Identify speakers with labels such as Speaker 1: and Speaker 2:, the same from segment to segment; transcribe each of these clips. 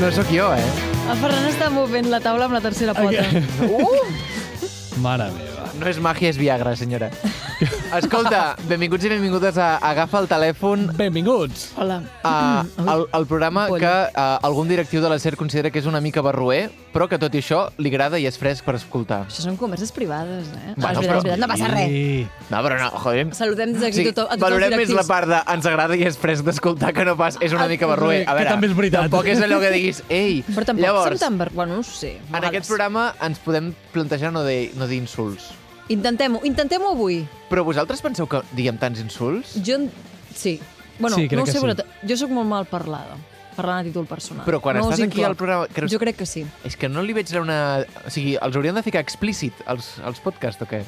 Speaker 1: no sóc jo, eh?
Speaker 2: El Ferran està movent la taula amb la tercera pota.
Speaker 3: Mare meva.
Speaker 1: No és màgia, és Viagra, senyora. Escolta, benvinguts i benvingudes a Agafa el telèfon,
Speaker 3: Benvinguts.
Speaker 2: Hola.
Speaker 1: a,
Speaker 2: Ai,
Speaker 1: el, el programa
Speaker 2: pollo.
Speaker 1: que a, algun directiu de la SER considera que és una mica barroer, però que tot i això li agrada i és fresc per escoltar.
Speaker 2: Això són converses privades, eh?
Speaker 1: Bueno,
Speaker 2: és veritat,
Speaker 1: però-
Speaker 2: és veritat, no passa res.
Speaker 3: Sí.
Speaker 1: No, però no, joder.
Speaker 2: Saludem des d'aquí sí, tothom, a tots els
Speaker 1: valorem
Speaker 2: directius.
Speaker 1: més
Speaker 2: Ah,
Speaker 1: la part de ens agrada i és fresc d'escoltar que no pas és una mica barroer. A
Speaker 3: que
Speaker 1: veure,
Speaker 3: també és veritat.
Speaker 1: tampoc és allò que diguis, ei,
Speaker 2: Però tampoc
Speaker 1: llavors,
Speaker 2: som tan... ver- Bueno, no ho sé.
Speaker 1: en aquest
Speaker 2: vegades.
Speaker 1: programa ens podem plantejar no dir no dir insults.
Speaker 2: Intentem-ho, intentem-ho avui.
Speaker 1: Però vosaltres penseu que diem tants insults?
Speaker 2: Jo... en- Sí. Bueno,
Speaker 3: Sí, crec
Speaker 2: no ho
Speaker 3: que
Speaker 2: sé,
Speaker 3: sí.
Speaker 2: però t- jo sóc molt mal parlada. Parlant a títol personal.
Speaker 1: Però quan
Speaker 2: no
Speaker 1: estàs
Speaker 2: us
Speaker 1: aquí
Speaker 2: incloc.
Speaker 1: al programa, creus-
Speaker 2: Jo crec que sí.
Speaker 1: És que no li veig una... O sigui, els haurien de ficar explícit, els, els podcasts, o què?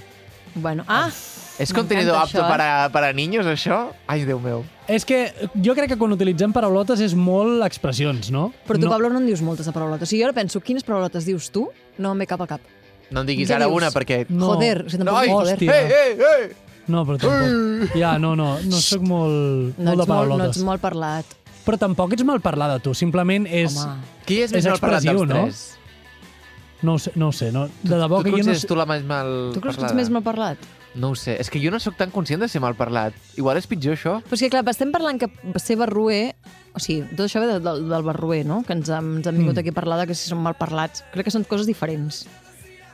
Speaker 2: Bueno, ah,
Speaker 1: És
Speaker 2: M'encanta
Speaker 1: contenido apto
Speaker 2: això, eh?
Speaker 1: para, para niños, això? Ai, Déu meu.
Speaker 3: És que jo crec que quan utilitzem paraulotes és molt expressions, no?
Speaker 2: però tu,
Speaker 3: no.
Speaker 2: Pablo, no en dius moltes de paraulotes. O sigui, jo ara penso, quines paraulotes dius tu? No em ve cap a cap.
Speaker 1: No en diguis
Speaker 2: Ja
Speaker 1: ara
Speaker 2: dius.
Speaker 1: una, perquè...
Speaker 3: No.
Speaker 2: Joder, si tampoc
Speaker 1: Noi,
Speaker 2: dic joder.
Speaker 3: hòstia.
Speaker 1: Ei, ei, ei!
Speaker 3: No, però tampoc. Ja, no, no, no sóc
Speaker 2: Eh. No
Speaker 3: molt, molt de
Speaker 2: ets, molt, no
Speaker 3: paraulotes.
Speaker 2: ets molt parlat.
Speaker 3: Però tampoc ets mal parlada, tu. Simplement és...
Speaker 2: Home.
Speaker 1: Qui és més
Speaker 3: És
Speaker 1: mal parlat dels
Speaker 3: expressiu, no?
Speaker 1: tres?
Speaker 3: No ho sé, no ho sé. No, de debò
Speaker 1: Tu
Speaker 3: que
Speaker 1: et
Speaker 3: jo no
Speaker 1: consideres
Speaker 3: sé...
Speaker 1: tu la més mal
Speaker 2: Tu creus que
Speaker 1: parlada?
Speaker 2: ets més mal parlat?
Speaker 1: No ho sé, és que jo no sóc tan conscient de ser mal parlat. Igual és pitjor, això.
Speaker 2: Però és que, clar, estem parlant que ser barruer... O sigui, tot això ve de, del, del barruer, no? Que ens, han- ens han
Speaker 1: Mm.
Speaker 2: vingut aquí a parlar de que si som mal parlats. Crec que són coses diferents.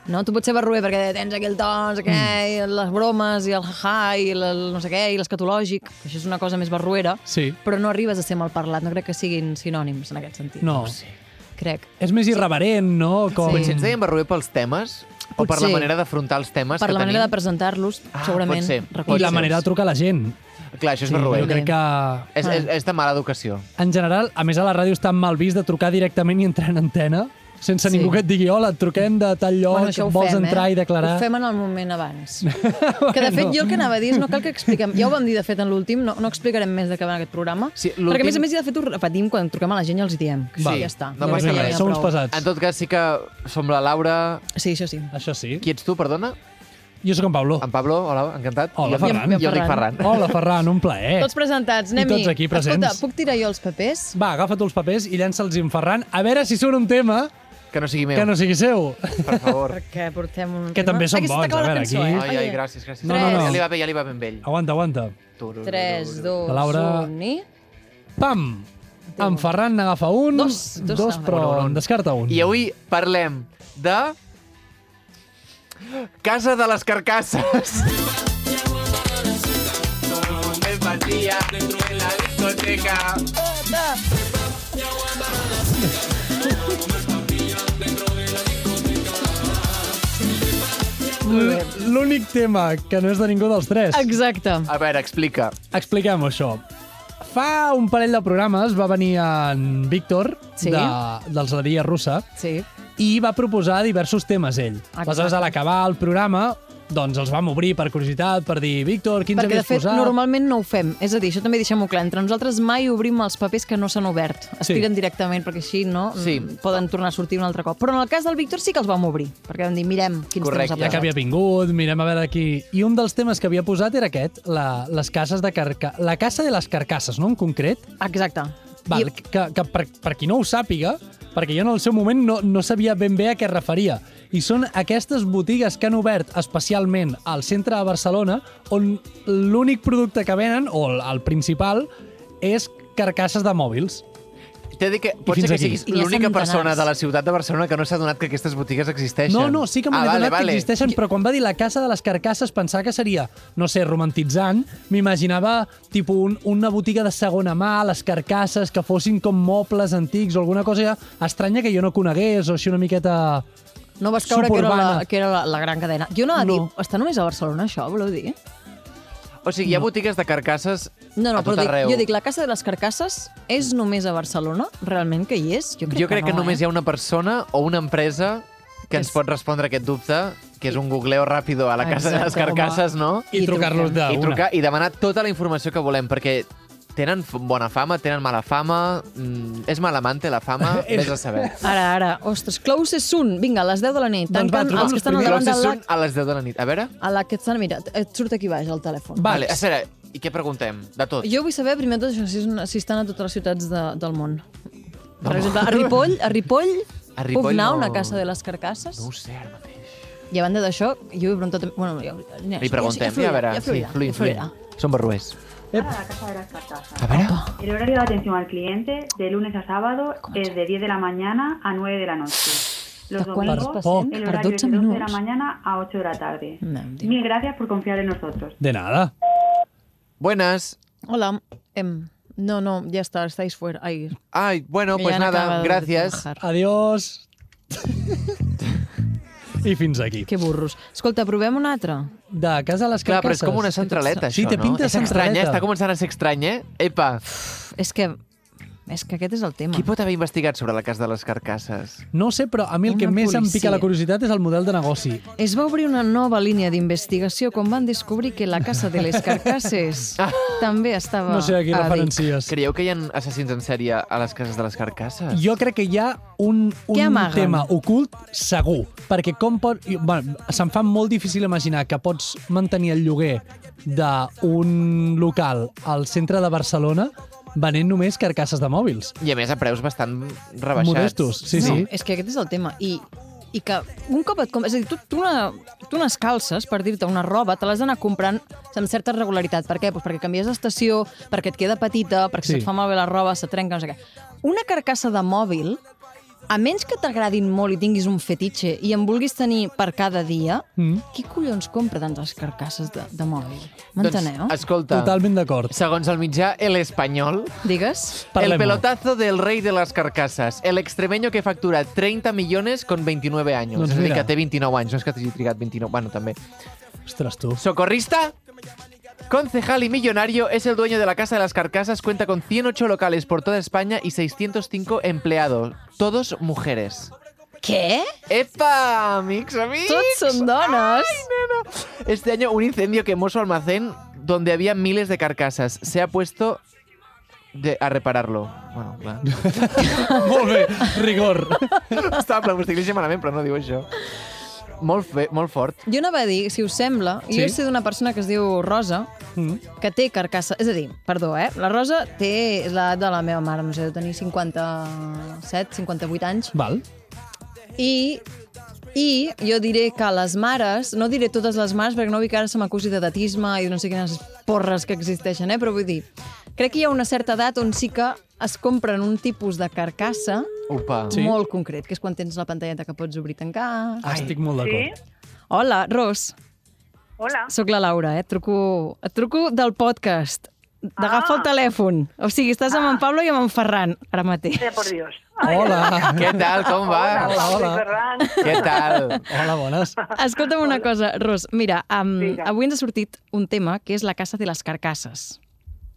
Speaker 2: No? Tu pots ser barruer perquè tens aquell tons, aquell, mm. les bromes i el ha-ha i el no sé què i l'escatològic. que Això és una cosa més barruera.
Speaker 3: Sí.
Speaker 2: Però no arribes a ser mal parlat. No crec que siguin sinònims en aquest sentit.
Speaker 3: No.
Speaker 2: Crec.
Speaker 3: És més irreverent, no? Com...
Speaker 1: Potser ens deien barroer pels temes, o per la
Speaker 2: Potser.
Speaker 1: manera d'afrontar els temes
Speaker 2: Per
Speaker 1: que
Speaker 2: la manera de
Speaker 1: tenim.
Speaker 2: presentar-los,
Speaker 1: Ah,
Speaker 2: segurament.
Speaker 1: pot ser.
Speaker 2: recordo.
Speaker 3: I la
Speaker 1: ser.
Speaker 3: manera de trucar a la gent.
Speaker 1: Clar, això és
Speaker 3: Sí,
Speaker 1: barroer.
Speaker 3: jo crec que...
Speaker 1: És, és, és de mala educació.
Speaker 3: En general, a més a la ràdio està mal vist de trucar directament i entrar en antena, sense
Speaker 2: Sí.
Speaker 3: ningú que et digui hola, et truquem de tal lloc,
Speaker 2: Bueno, això ho
Speaker 3: vols
Speaker 2: fem,
Speaker 3: entrar
Speaker 2: eh?
Speaker 3: i declarar...
Speaker 2: Ho fem en el moment abans. que, de fet, jo el que anava a dir és no cal que expliquem... Ja ho vam dir, de fet, en l'últim, no, no explicarem més de què va en aquest programa.
Speaker 1: Sí, l'últim-
Speaker 2: perquè, a més a més, ja de fet, ho repetim quan truquem a la gent i els hi diem.
Speaker 1: Val.
Speaker 2: Sí, ja està.
Speaker 1: No
Speaker 2: Jo
Speaker 1: passa
Speaker 2: crec que ja
Speaker 1: res.
Speaker 2: hi ha
Speaker 3: Som uns
Speaker 2: prou.
Speaker 3: pesats. Eh.
Speaker 1: En tot cas, sí que som la Laura...
Speaker 2: Sí, això sí.
Speaker 3: Això sí.
Speaker 1: Qui ets tu, perdona?
Speaker 3: Jo sóc en Pablo.
Speaker 1: En Pablo, hola, encantat.
Speaker 3: Hola,
Speaker 1: I jo,
Speaker 3: Ferran.
Speaker 1: Jo dic Ferran.
Speaker 3: Hola, Ferran, un plaer.
Speaker 2: Tots presentats, anem-hi.
Speaker 3: tots aquí presents.
Speaker 2: Escolta, puc tirar jo els papers?
Speaker 3: Va, agafa tu els papers i llança'ls en Ferran. A veure si surt un tema
Speaker 1: Que no sigui meu,
Speaker 3: Oh. que no sigui seu.
Speaker 1: per favor.
Speaker 2: Perquè portem un...
Speaker 3: Que també són
Speaker 2: Ai, que se
Speaker 3: bons,
Speaker 2: t'acaba
Speaker 3: a
Speaker 2: la
Speaker 3: veure,
Speaker 2: cançó,
Speaker 3: aquí.
Speaker 2: eh?
Speaker 1: Ai, ai, gràcies, gràcies.
Speaker 3: No, no, no.
Speaker 1: Ja li va bé, ja li va ben vell.
Speaker 3: Aguanta, aguanta.
Speaker 2: 3, 2,
Speaker 3: Laura.
Speaker 2: 1 i...
Speaker 3: Pam! En Ferran n'agafa un,
Speaker 2: Dos, dos
Speaker 3: dos
Speaker 2: n'agafa.
Speaker 3: però
Speaker 1: Bueno, un.
Speaker 3: en descarta un.
Speaker 1: I avui parlem de... Casa de les Carcasses. Empatia dentro de la discoteca.
Speaker 3: L- L'únic tema que no és de ningú dels tres.
Speaker 2: Exacte.
Speaker 1: A veure, explica.
Speaker 3: Expliquem això. Fa un parell de programes va venir en Víctor,
Speaker 2: Sí.
Speaker 3: de, dels La Dia Russa,
Speaker 2: Sí.
Speaker 3: i va proposar diversos temes ell.
Speaker 2: Exacte.
Speaker 3: Aleshores, a l'acabar el programa, doncs els vam obrir per curiositat, per dir, Víctor, quins
Speaker 2: Perquè, de
Speaker 3: havies
Speaker 2: fet,
Speaker 3: posat?
Speaker 2: normalment no ho fem. És a dir, això també deixem-ho clar. Entre nosaltres mai obrim els papers que no s'han obert. Es
Speaker 3: Sí.
Speaker 2: tiren directament, perquè així no
Speaker 1: Sí.
Speaker 2: Mm, poden tornar a sortir un altre cop. Però en el cas del Víctor sí que els vam obrir, perquè vam dir, mirem quins
Speaker 1: Correcte.
Speaker 2: temes ha
Speaker 3: Ja que
Speaker 2: posat.
Speaker 3: havia vingut, mirem a veure aquí... I un dels temes que havia posat era aquest, la, les cases de carca... La caça de les carcasses, no?, en concret.
Speaker 2: Exacte.
Speaker 3: Val,
Speaker 2: I,
Speaker 3: que, que per, per qui no ho sàpiga, perquè jo en el seu moment no, no sabia ben bé a què es referia. I són aquestes botigues que han obert especialment al centre de Barcelona on l'únic producte que venen, o el, el principal, és carcasses de mòbils.
Speaker 1: T'he dit que pot ser
Speaker 3: fins
Speaker 1: que
Speaker 3: aquí.
Speaker 1: siguis
Speaker 2: I n'hi ha
Speaker 1: l'única
Speaker 2: centenars.
Speaker 1: persona de la ciutat de Barcelona que no s'ha donat que aquestes botigues existeixen.
Speaker 3: No, no, sí que m'he
Speaker 1: ah,
Speaker 3: adonat
Speaker 1: vale, vale.
Speaker 3: que existeixen, però quan va dir la casa de les carcasses pensava que seria, no sé, romantitzant. M'imaginava tipus un, una botiga de segona mà, les carcasses, que fossin com mobles antics o alguna cosa estranya que jo no conegués o així una miqueta...
Speaker 2: no vas caure que era, la,
Speaker 3: Suburbana.
Speaker 2: que era la, la gran cadena. Jo anava
Speaker 3: No.
Speaker 2: a dir, està només a Barcelona, això, voleu dir?
Speaker 1: O sigui, hi ha botigues de carcasses
Speaker 2: No, no,
Speaker 1: a tot
Speaker 2: però dic,
Speaker 1: arreu.
Speaker 2: jo dic, la Casa de les Carcasses és només a Barcelona? Realment que hi és? Jo crec,
Speaker 1: jo crec que,
Speaker 2: no,
Speaker 1: només
Speaker 2: eh?
Speaker 1: hi ha una persona o una empresa que ens
Speaker 2: És-
Speaker 1: pot respondre aquest dubte, que és un googleo ràpido a la casa de les
Speaker 2: Exacte, home.
Speaker 1: carcasses, no?
Speaker 3: I,
Speaker 2: I
Speaker 3: I trucar-los
Speaker 2: truquem.
Speaker 3: d'una.
Speaker 1: I trucar i demanar tota la informació que volem, perquè tenen f- bona fama, tenen mala fama, mm, és malamante la fama, vés a saber.
Speaker 2: Ara, ara, ostres, close soon. Vinga, a les 10 de la nit.
Speaker 3: Doncs va,
Speaker 2: Tanquen
Speaker 3: truquem
Speaker 2: els que
Speaker 3: els
Speaker 2: estan al
Speaker 3: primers.
Speaker 2: davant
Speaker 1: Closes
Speaker 2: del
Speaker 1: són
Speaker 2: lac.
Speaker 1: a les 10 de la nit. A veure?
Speaker 2: A la que estan, mira, et surt aquí baix el telèfon.
Speaker 3: Va.
Speaker 1: Vale, espera, i què preguntem? De tot.
Speaker 2: Jo vull saber, primer de tot, això, si, és una, si estan a totes les ciutats de, del món. Per exemple, a Ripoll, a Ripoll,
Speaker 1: A
Speaker 2: a Ripoll puc
Speaker 1: Ripoll
Speaker 2: anar a
Speaker 1: no.
Speaker 2: una casa de les carcasses?
Speaker 1: No ho sé ara mateix.
Speaker 2: I a banda d'això, jo he preguntat... Bueno, ja, ja, ja,
Speaker 1: Li preguntem, ja,
Speaker 2: fluirà,
Speaker 1: a veure.
Speaker 2: Ja fluirà,
Speaker 1: sí, fluir,
Speaker 2: ja fluirà.
Speaker 1: fluir. Són barruers.
Speaker 4: a la Casa de las Carcasas.
Speaker 1: A veure...
Speaker 4: El horario de atención al cliente de lunes a sábado es de 10 de la mañana a 9 de la noche. Los
Speaker 2: ¿De cuál
Speaker 4: domingos
Speaker 3: nos
Speaker 2: pasen?
Speaker 4: el
Speaker 2: Per
Speaker 4: horario es
Speaker 2: 12
Speaker 4: de 12 de la
Speaker 2: minuts.
Speaker 4: mañana a 8 de la tarde.
Speaker 2: No, em dic.
Speaker 4: Mil gracias por confiar en nosotros.
Speaker 3: De nada.
Speaker 1: Buenas.
Speaker 2: Hola. Em, no, no, ya está, estáis fuera. Ahí.
Speaker 1: Ay, bueno,
Speaker 2: que
Speaker 1: pues
Speaker 2: ya han acabado
Speaker 1: nada,
Speaker 2: de
Speaker 1: gracias.
Speaker 2: trabajar.
Speaker 3: Adiós. I fins aquí.
Speaker 2: Que burros. Escolta, provem un altre.
Speaker 3: De casa a les carcasses.
Speaker 1: Clar, però és com una centraleta,
Speaker 3: Sí,
Speaker 1: això,
Speaker 3: té pinta
Speaker 1: no?
Speaker 3: de
Speaker 1: és estrany, eh?
Speaker 3: centraleta.
Speaker 1: està començant a ser estrany, eh? Epa,
Speaker 2: Pf, És que... És que aquest és el tema.
Speaker 1: qui pot haver investigat sobre la casa de les carcasses?
Speaker 3: No ho sé, però a mi el que
Speaker 2: Una
Speaker 3: més em pica
Speaker 2: policia.
Speaker 3: la curiositat és el model de negoci.
Speaker 2: Es va obrir una nova línia d'investigació quan van descobrir que la casa de les carcasses també estava
Speaker 3: Ah. No sé a qui
Speaker 2: a Vic.
Speaker 3: referencies.
Speaker 1: Creieu que hi ha assassins en sèrie a les cases de les carcasses?
Speaker 3: Jo crec que hi ha un,
Speaker 2: Què
Speaker 3: un
Speaker 2: amaguen?
Speaker 3: tema ocult segur, perquè com pot... i, Bueno, se'm fa molt difícil imaginar que pots mantenir el lloguer d'un local al centre de Barcelona venent només carcasses de mòbils.
Speaker 1: I a més a preus bastant rebaixats.
Speaker 3: Modestos, sí,
Speaker 2: no,
Speaker 3: sí.
Speaker 2: és que aquest és el tema. I, i que un cop et compres... És a dir, tu, tu, una, tu unes calces, per dir-te, una roba, te l'has d'anar comprant amb certa regularitat. Per què? Pues perquè canvies d'estació, perquè et queda petita, perquè
Speaker 3: Sí.
Speaker 2: sí. se't fa malbé la roba, se trenca, no sé què. Una carcassa de mòbil, a menys que t'agradin molt i tinguis un fetitxe i en vulguis tenir per cada dia,
Speaker 3: Mm.
Speaker 2: qui collons compra tantes carcasses de, de mòbil? M'enteneu?
Speaker 1: Doncs, escolta,
Speaker 3: Totalment d'acord.
Speaker 1: segons el mitjà El Espanyol,
Speaker 2: Digues.
Speaker 3: Parlem-ho.
Speaker 1: el pelotazo del rei de les carcasses, el extremeño que factura 30 millones con 29 años.
Speaker 3: Doncs
Speaker 1: és a dir,
Speaker 3: mira.
Speaker 1: que té 29 anys, no és que t'hagi trigat 29, bueno, també.
Speaker 3: Ostres, tu.
Speaker 1: Socorrista, concejal y millonario, es el dueño de la Casa de las Carcasas, cuenta con 108 locales por toda España y 605 empleados, todos mujeres.
Speaker 2: Què?
Speaker 1: ¡Epa, mix, amigos!
Speaker 2: Tots són dones!
Speaker 1: Este año un incendio quemó su almacén donde había miles de carcasas. Se ha puesto de- a repararlo. Bueno, claro.
Speaker 3: Molt bé, rigor.
Speaker 1: Estava plan, ho estic llegint malament, però no diu això. Molt, fe, molt fort.
Speaker 2: Jo anava a dir, si us sembla, sí? jo
Speaker 3: Sí?
Speaker 2: sé d'una persona que es diu Rosa,
Speaker 3: Mm.
Speaker 2: que té carcassa... És a dir, perdó, eh? La Rosa té l'edat de la meva mare, no sé, deu tenir 57, 58 anys.
Speaker 3: Val.
Speaker 2: I, I jo diré que les mares, no diré totes les mares perquè no vull que ara se m'acusi d'edatisme i no sé quines porres que existeixen, eh? però vull dir, crec que hi ha una certa edat on sí que es compren un tipus de carcassa
Speaker 1: Upa.
Speaker 3: Sí.
Speaker 2: sí. molt concret, que és quan tens la pantalleta que pots obrir i tancar.
Speaker 3: Ai. Estic molt
Speaker 5: Sí,
Speaker 3: d'acord.
Speaker 2: Hola, Ros.
Speaker 5: hola.
Speaker 2: Soc la Laura, eh? Et truco, et truco del podcast. D'agafa ah. el telèfon. O sigui, estàs amb en Pablo i amb en Ferran, ara mateix.
Speaker 5: Sea por Dios.
Speaker 3: Hola.
Speaker 1: Què tal, com va?
Speaker 3: Hola, hola.
Speaker 5: Soy Ferran.
Speaker 1: Què tal?
Speaker 3: Hola, bones.
Speaker 2: Escolta'm una cosa, Ros. Mira, um,
Speaker 5: Vinga.
Speaker 2: avui ens ha sortit un tema que és la Casa de les Carcasses.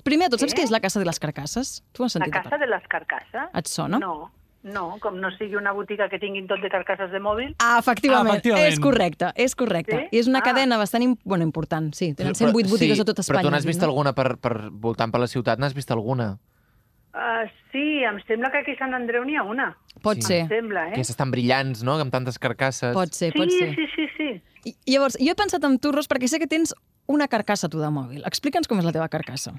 Speaker 2: Primer de tot, saps què és la Casa de les Carcasses? Tu has
Speaker 5: La
Speaker 2: sentit a
Speaker 5: casa
Speaker 2: parlar?
Speaker 5: de les carcasses?
Speaker 2: Et sona?
Speaker 5: No, no, com no sigui una botiga que tinguin tot de carcasses de mòbil.
Speaker 2: Ah, efectivament.
Speaker 3: Efectivament.
Speaker 2: És correcte, és correcte.
Speaker 5: Sí?
Speaker 2: I és una
Speaker 5: Ah.
Speaker 2: cadena bastant im bueno, important, sí. Tenen
Speaker 1: Però-
Speaker 2: 108 botigues
Speaker 1: sí,
Speaker 2: a tot Espanya.
Speaker 1: Però tu n'has vist
Speaker 2: no?
Speaker 1: alguna per, per voltant per la ciutat? N'has vist alguna?
Speaker 5: Uh, sí, em sembla que aquí a Sant Andreu n'hi ha una.
Speaker 2: Pot
Speaker 1: Sí.
Speaker 2: ser,
Speaker 5: Em sembla, eh?
Speaker 1: Aquestes tan brillants, no?, amb tantes carcasses.
Speaker 2: pot ser,
Speaker 5: Sí,
Speaker 2: pot ser.
Speaker 5: sí, sí, sí.
Speaker 2: I- Llavors, jo he pensat en tu, Ros, perquè sé que tens una carcassa, tu, de mòbil. Explica'ns com és la teva carcassa.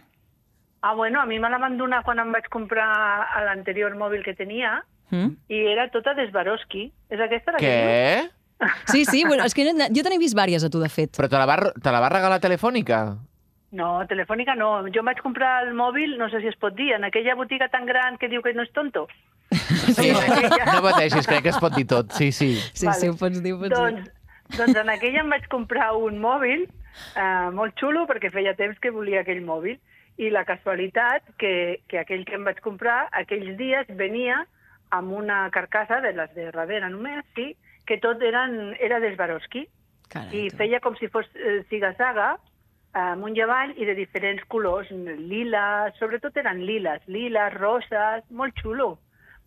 Speaker 5: Ah, bueno, a mi me la van donar quan em vaig comprar a l'anterior mòbil que tenia
Speaker 2: Mm?
Speaker 5: i era tota d'Esbaroski. És aquesta la que dius?
Speaker 1: Què?
Speaker 2: Sí, sí, bueno, és que jo, jo te n'he vist vàries a tu, de fet.
Speaker 1: Però te la va, te la va regalar Telefònica?
Speaker 5: No, telefònica no. Jo em vaig comprar el mòbil, no sé si es pot dir, en aquella botiga tan gran que diu que no és tonto.
Speaker 1: Sí.
Speaker 5: aquella.
Speaker 1: No pateixis, crec que es pot dir tot. Sí, sí.
Speaker 2: Sí,
Speaker 5: Vale.
Speaker 2: sí, ho pots dir, ho pots dir.
Speaker 5: Doncs, doncs en aquella em vaig comprar un mòbil eh, molt xulo perquè feia temps que volia aquell mòbil i la casualitat que, que aquell que em vaig comprar aquells dies venia amb una carcassa de les de darrere només, sí, que tot eren, era d'Esbaroski
Speaker 2: Carai,
Speaker 5: i
Speaker 2: tu.
Speaker 5: feia com si fos eh, ziga-zaga eh, amunt i avall i de diferents colors, lila, sobretot eren liles, liles, roses, molt xulo.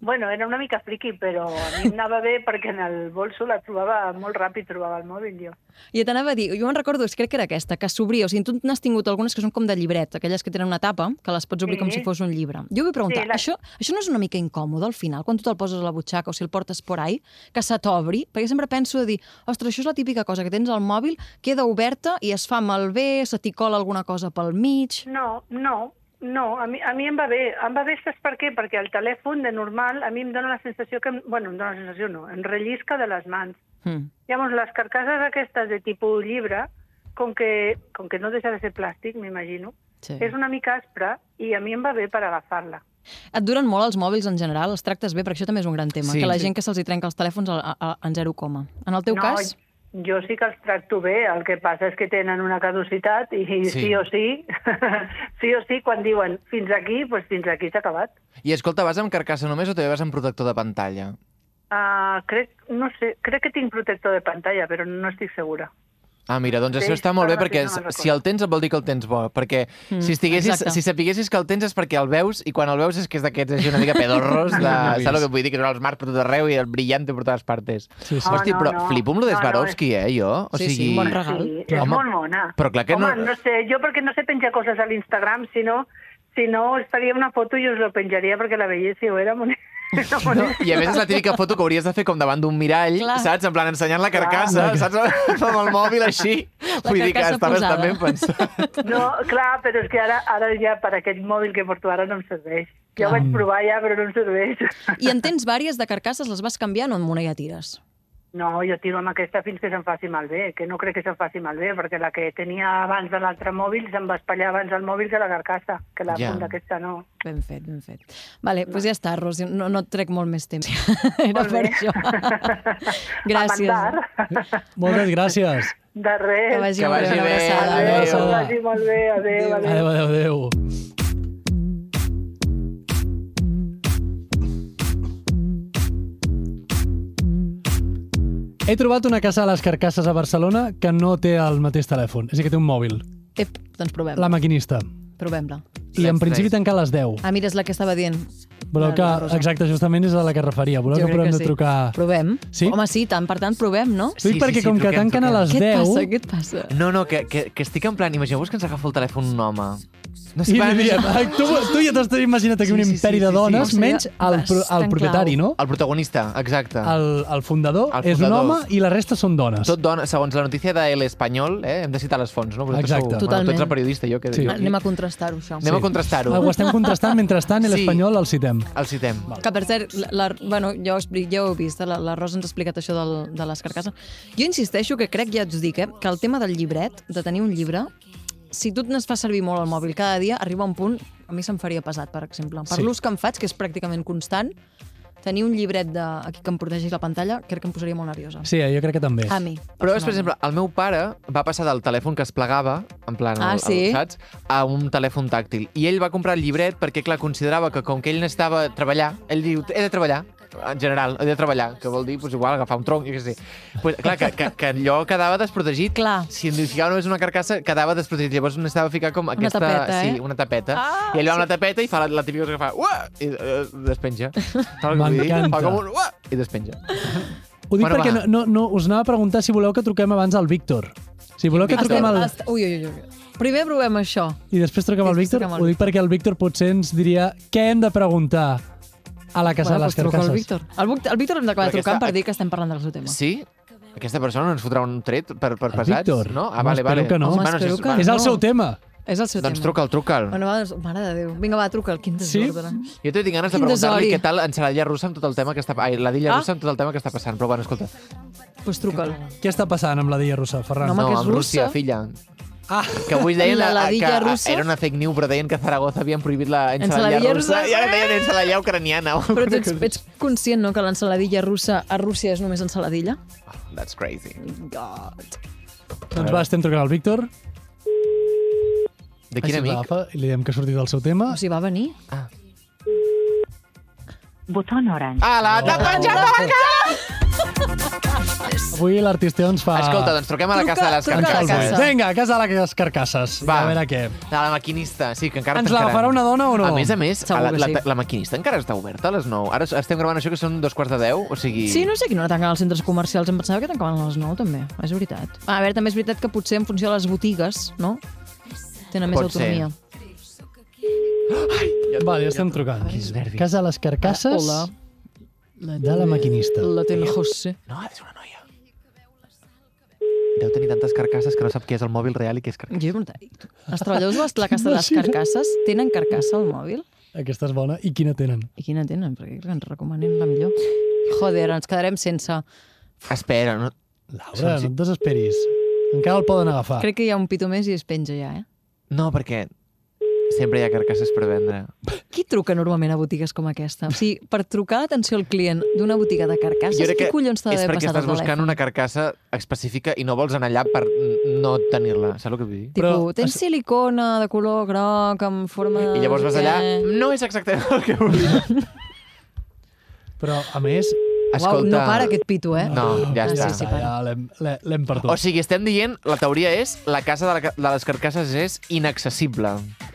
Speaker 5: Bueno, era una mica friki, però a mi em anava bé perquè en el bolso la trobava molt ràpid, trobava el mòbil jo.
Speaker 2: Jo t'anava a dir, jo me'n recordo, és que crec que era aquesta, que s'obria, o sigui, tu n'has tingut algunes que són com de llibret, aquelles que tenen una tapa, que les pots obrir
Speaker 5: Sí.
Speaker 2: com si fos un llibre. Jo vull preguntar,
Speaker 5: Sí, la-
Speaker 2: això, això no és una mica incòmode al final, quan tu te'l poses a la butxaca o si el portes por ahí, que se t'obri? Perquè sempre penso de dir, ostres, això és la típica cosa que tens al mòbil, queda oberta i es fa malbé, se t'hi cola alguna cosa pel mig...
Speaker 5: No, no, No, a mi, a mi em va bé. Em va bé, saps per què? Perquè el telèfon, de normal, a mi em dóna la sensació que... Em, bueno, em dóna la sensació, no. Em rellisca de les mans.
Speaker 2: Mm.
Speaker 5: Llavors, les carcasses aquestes de tipus llibre, com que, com que no deixa de ser plàstic, m'imagino,
Speaker 2: Sí.
Speaker 5: és una mica aspra i a mi em va bé per agafar-la.
Speaker 2: Et duren molt els mòbils en general? Els tractes bé? Perquè això també és un gran tema,
Speaker 1: Sí.
Speaker 2: que la
Speaker 1: Sí.
Speaker 2: gent que se'ls hi trenca els telèfons a, a, a, en zero coma. En el teu cas?
Speaker 5: Jo sí que els tracto bé, el que passa és que tenen una caducitat i sí,
Speaker 1: Sí.
Speaker 5: sí o sí, sí o sí, quan diuen fins aquí, doncs fins aquí s'ha acabat.
Speaker 1: I escolta, vas amb carcassa només o també vas amb protector de pantalla?
Speaker 5: Uh, crec, no sé, crec que tinc protector de pantalla, però no estic segura.
Speaker 1: Ah, mira, doncs
Speaker 5: Sí,
Speaker 1: això està molt bé,
Speaker 5: ara sí,
Speaker 1: perquè
Speaker 5: no me'n
Speaker 1: s- si
Speaker 5: recordo.
Speaker 1: el tens vol dir que el tens bo, perquè si estiguessis,
Speaker 2: Mm, exacte.
Speaker 1: si sapiguessis que el tens és perquè el veus, i quan el veus és que és d'aquests així una mica pedorros, de,
Speaker 3: No
Speaker 1: saps
Speaker 3: he
Speaker 1: el que
Speaker 3: vist.
Speaker 1: vull dir, que són els mars per tot arreu i el brillante per totes partes.
Speaker 3: Sí, sí.
Speaker 5: Ah,
Speaker 1: Hosti,
Speaker 5: no,
Speaker 1: però
Speaker 5: no.
Speaker 1: flipo amb lo de
Speaker 5: No, no,
Speaker 1: Swarovski, eh, jo? O
Speaker 2: Sí, sí,
Speaker 1: sigui,
Speaker 2: bon regal.
Speaker 5: Sí, és
Speaker 1: Home,
Speaker 5: molt mona.
Speaker 1: però clar que
Speaker 5: Home,
Speaker 1: no-
Speaker 5: no sé, jo perquè no sé penjar coses a l'Instagram, si no, si no us faria una foto i us lo penjaria perquè la veiéssiu, era moni- era
Speaker 1: No,
Speaker 5: boníssima.
Speaker 1: I a més és la típica foto que hauries de fer com davant d'un mirall,
Speaker 2: Clar.
Speaker 1: saps? En plan, ensenyant la carcassa, saps? Amb el mòbil així.
Speaker 2: La
Speaker 1: Vull dir que
Speaker 2: carcassa
Speaker 1: estaves
Speaker 2: posada.
Speaker 1: també ben pensat.
Speaker 5: No, clar, però és que ara, ara ja per aquest mòbil que porto ara no em serveix. Ja ho vaig provar ja, però no em serveix.
Speaker 2: I en tens vàries de carcasses, les vas canviant o amb una ja tires?
Speaker 5: No, jo tiro amb aquesta fins que se'm faci malbé, que no crec que se'm faci malbé, perquè la que tenia abans de l'altre mòbil se'm va espatllar abans el mòbil que la carcassa, que la
Speaker 1: Ja.
Speaker 5: yeah. funda aquesta no.
Speaker 2: Ben fet, ben fet. Vale, doncs ja està, Rosi, no, no et trec molt més temps. Era
Speaker 5: Molt
Speaker 2: Ah, per
Speaker 5: bé.
Speaker 2: això.
Speaker 5: Amb
Speaker 2: Gràcies.
Speaker 5: encart.
Speaker 3: Moltes gràcies.
Speaker 5: De res.
Speaker 2: Que vagi,
Speaker 1: Que
Speaker 2: molt
Speaker 1: vagi
Speaker 2: bé.
Speaker 1: bé.
Speaker 2: Una abraçada.
Speaker 5: Adéu,
Speaker 3: Adéu.
Speaker 5: que vagi molt bé. Adéu, adéu.
Speaker 3: Adéu, adéu, adéu. He trobat una casa a les carcasses a Barcelona que no té el mateix telèfon. És a dir, que té un mòbil.
Speaker 2: Ep, doncs provem.
Speaker 3: La
Speaker 2: La...
Speaker 3: maquinista.
Speaker 2: Provem-la.
Speaker 3: I en
Speaker 1: Let's
Speaker 3: principi
Speaker 1: try.
Speaker 3: tanca a les 10.
Speaker 2: Ah, mira, és la que estava dient.
Speaker 3: Voleu
Speaker 2: la-
Speaker 3: que...
Speaker 2: la Rosa.
Speaker 3: Exacte, justament és a la que es referia. Voleu
Speaker 2: Jo
Speaker 3: que
Speaker 2: crec
Speaker 3: provem
Speaker 2: que
Speaker 3: de
Speaker 2: sí.
Speaker 3: trucar...
Speaker 2: Provem?
Speaker 3: Sí?
Speaker 2: Home, sí, tant, per tant, provem, no?
Speaker 1: Sí,
Speaker 3: Sí,
Speaker 1: sí,
Speaker 3: perquè
Speaker 1: sí,
Speaker 3: com que
Speaker 1: truquem,
Speaker 3: tanquen a
Speaker 1: truquem.
Speaker 3: les
Speaker 2: Què et
Speaker 3: 10...
Speaker 2: passa? Què et passa?
Speaker 1: No, no, que, que, que estic en plan... Imagineu-vos que ens agafa el telèfon un home. No
Speaker 3: I
Speaker 1: va,
Speaker 3: diríem, "Ai, tu, tu ja t'has imaginat aquí
Speaker 1: Sí,
Speaker 3: un
Speaker 1: sí, sí,
Speaker 3: imperi de
Speaker 1: sí, sí.
Speaker 3: dones,
Speaker 2: Seria
Speaker 3: menys el, pro- el
Speaker 2: bastant
Speaker 3: propietari, no?
Speaker 1: El protagonista, exacte.
Speaker 3: El, el, fundador
Speaker 1: El
Speaker 3: és un
Speaker 1: fundador.
Speaker 3: home i la resta són dones.
Speaker 1: Tot dona, segons la notícia de l'Espanyol, eh, hem de citar les fonts, no? Vosaltres
Speaker 3: Exacte.
Speaker 1: Sou, bueno, tu
Speaker 2: Totalment.
Speaker 1: ets el periodista, jo que...
Speaker 3: Sí.
Speaker 1: Sí. Jo,
Speaker 2: Anem a contrastar-ho, això.
Speaker 1: Anem a
Speaker 3: Ah,
Speaker 1: contrastar-ho.
Speaker 3: Ho estem contrastant, mentrestant, i
Speaker 1: Sí.
Speaker 3: l'espanyol el citem.
Speaker 1: El citem.
Speaker 2: Que, per cert, la, la, bueno, ja, ho explic, ja ho he vist, la, la Rosa ens ha explicat això del, de les carcasses. Jo insisteixo que crec, ja us dic, eh, que el tema del llibret, de tenir un llibre, si tu et n'es fa servir molt el mòbil cada dia, arriba un punt, a mi se'm faria pesat, per exemple. Per
Speaker 3: Sí.
Speaker 2: l'ús que em faig, que és pràcticament constant, tenir un llibret de, aquí que em protegeix la pantalla, crec que em posaria molt nerviosa.
Speaker 3: Sí, eh, jo crec que també.
Speaker 2: A Ah, mi.
Speaker 1: Però és, per
Speaker 2: personalment.
Speaker 1: exemple, el meu pare va passar del telèfon que es plegava, en plan,
Speaker 2: Ah,
Speaker 1: el,
Speaker 2: sí?
Speaker 1: el, saps? A un telèfon tàctil. I ell va comprar el llibret perquè, clar, considerava que com que ell necessitava treballar, ell diu, he de treballar, en general, he de treballar, que vol dir, doncs igual, agafar un tronc, jo què sé. Pues, clar, que, que, que allò quedava desprotegit.
Speaker 2: Clar.
Speaker 1: Si en ficava només una carcassa, quedava desprotegit. Llavors necessitava ficar com aquesta...
Speaker 2: tapeta, eh?
Speaker 1: Sí, una tapeta.
Speaker 2: Ah,
Speaker 1: I ell va amb la tapeta i fa la, la típica cosa que fa... Uah! I eh, despenja. Saps què vull dir?
Speaker 3: M'encanta.
Speaker 1: Fa com un... Uah! I despenja.
Speaker 3: Ho dic
Speaker 1: Bueno,
Speaker 3: perquè no,
Speaker 1: va.
Speaker 3: no, no, us anava a preguntar si voleu que truquem abans al Víctor. Si voleu que
Speaker 2: Estem,
Speaker 3: truquem al...
Speaker 2: est- Ui, ui, ui. Primer provem això.
Speaker 3: I després truquem al
Speaker 2: Després
Speaker 3: Víctor.
Speaker 2: truquem al
Speaker 3: Ho dic perquè el Víctor potser ens diria què hem de preguntar a la casa de les
Speaker 2: doncs truca al
Speaker 3: carcasses.
Speaker 2: Víctor. El, Víctor- el Víctor hem d'acabar
Speaker 1: Perquè
Speaker 2: trucant
Speaker 1: està-
Speaker 2: per dir que estem parlant del seu tema.
Speaker 1: Sí? Aquesta persona no ens fotrà un tret per, per
Speaker 3: El
Speaker 1: pesats?
Speaker 3: Víctor?
Speaker 1: No? Ah,
Speaker 3: Home,
Speaker 1: vale,
Speaker 3: espero
Speaker 1: vale.
Speaker 3: que no. Home,
Speaker 1: Bueno, si
Speaker 2: espero
Speaker 1: és-
Speaker 2: que
Speaker 1: vale.
Speaker 3: És el
Speaker 2: No.
Speaker 3: seu tema.
Speaker 2: És el seu
Speaker 1: Doncs
Speaker 2: tema.
Speaker 1: truca'l, truca'l.
Speaker 2: Bueno, va, doncs, mare de Déu. Vinga, va, truca'l, quin desordre. Sí?
Speaker 1: Jo t'he tinc ganes de
Speaker 2: Quin
Speaker 1: preguntar-li
Speaker 2: desori.
Speaker 1: què tal ensaladilla russa amb tot el tema que està... Ai, la dilla
Speaker 2: Ah.
Speaker 1: russa amb tot el tema que està passant. Però bueno, escolta.
Speaker 2: Pues truca'l.
Speaker 3: Què està passant amb la Dia Russa, Ferran?
Speaker 2: No, home, que és
Speaker 1: amb Rússia,
Speaker 2: russa.
Speaker 1: filla.
Speaker 3: Ah,
Speaker 1: Que avui deien
Speaker 2: La
Speaker 1: a- a-
Speaker 2: ladilla
Speaker 1: que a-
Speaker 2: russa.
Speaker 1: era una fake news, però deien que a Zaragoza havien prohibit la ensaladilla
Speaker 2: Ensaladilla
Speaker 1: russa.
Speaker 2: russa.
Speaker 1: I ara deien ensaladilla ucraniana.
Speaker 2: Però tu ets, ets conscient, no?, que l'ensaladilla russa a Rússia és només ensaladilla?
Speaker 1: Oh, That's crazy.
Speaker 2: God.
Speaker 3: doncs va, estem trucant al Víctor.
Speaker 1: De quin
Speaker 3: Així
Speaker 1: amic?
Speaker 3: l'agafa I li diem que ha sortit del seu tema.
Speaker 2: O sigui, va venir?
Speaker 4: Botón orange.
Speaker 1: Ah, la
Speaker 2: Oh.
Speaker 1: t'ha penjat a la cara!
Speaker 3: Avui l'artista ens fa...
Speaker 1: Escolta, doncs truquem a la
Speaker 2: Truca-
Speaker 1: casa de les
Speaker 2: truca a la
Speaker 3: Tanca el
Speaker 1: carcasses.
Speaker 2: casa.
Speaker 3: buit. Vinga, a casa de les carcasses.
Speaker 1: Va.
Speaker 3: A veure què.
Speaker 1: A la maquinista, sí, que encara
Speaker 3: Ens
Speaker 1: tancaran.
Speaker 3: l'agafarà una dona o no?
Speaker 1: A més a més, a
Speaker 2: Segur
Speaker 1: la,
Speaker 2: que
Speaker 1: la,
Speaker 2: sí.
Speaker 1: la maquinista encara està oberta a les 9. Ara estem gravant això que són dos quarts de 10, o sigui...
Speaker 2: Sí, no sé quina hora tanquen els centres comercials. Em pensava que tancaven a les 9, també. Ah, És veritat. A veure, també és veritat que potser en funció de les botigues, no?, tenen més
Speaker 1: Pot ser.
Speaker 2: autonomia.
Speaker 3: Va, ja estem trucant.
Speaker 1: Quins nervis.
Speaker 3: Casa de les carcasses
Speaker 1: Ah,
Speaker 2: Hola.
Speaker 3: de la maquinista.
Speaker 2: La ten José.
Speaker 1: No, és una noia. Deu tenir tantes carcasses que no sap què és el mòbil real i què és carcassa.
Speaker 2: Jo he preguntat, els treballadors de les plaques de les
Speaker 3: Imagina't.
Speaker 2: carcasses tenen carcassa al mòbil?
Speaker 3: Aquesta és bona. I quina tenen?
Speaker 2: I quina tenen? Perquè clar, ens recomanen la millor. Joder, ens quedarem sense.
Speaker 1: Espera, no...
Speaker 3: Laura,
Speaker 1: Sí, sí.
Speaker 3: no et desesperis. Encara el poden agafar.
Speaker 2: Crec que hi ha un pito més i es penja ja, eh?
Speaker 1: no, perquè sempre hi ha carcasses per vendre.
Speaker 2: Qui truca normalment a botigues com aquesta? O sigui, per trucar l'atenció al client d'una botiga de
Speaker 1: Jo
Speaker 2: carcasses,
Speaker 1: crec
Speaker 2: què
Speaker 1: que
Speaker 2: collons t'ha
Speaker 1: és
Speaker 2: d'haver
Speaker 1: perquè
Speaker 2: passat
Speaker 1: estàs
Speaker 2: al
Speaker 1: buscant
Speaker 2: telèfon?
Speaker 1: una carcassa específica i no vols anar allà per n- no tenir-la. Saps el que vull dir?
Speaker 2: Tipo,
Speaker 3: Però-
Speaker 2: tens silicona de color groc amb forma... de
Speaker 1: I llavors
Speaker 2: no
Speaker 1: vas
Speaker 2: sé
Speaker 1: allà,
Speaker 2: què.
Speaker 1: no és exactament el que volia.
Speaker 3: Però, a més...
Speaker 1: Escolta...
Speaker 2: Uau, no para aquest pito, eh?
Speaker 1: No, ja
Speaker 2: Ah, sí,
Speaker 1: està.
Speaker 2: sí, para.
Speaker 3: ja l'hem- l'he- L'hem perdut.
Speaker 1: O sigui, estem dient, la teoria és, la casa de, la, ca- de les carcasses és inaccessible.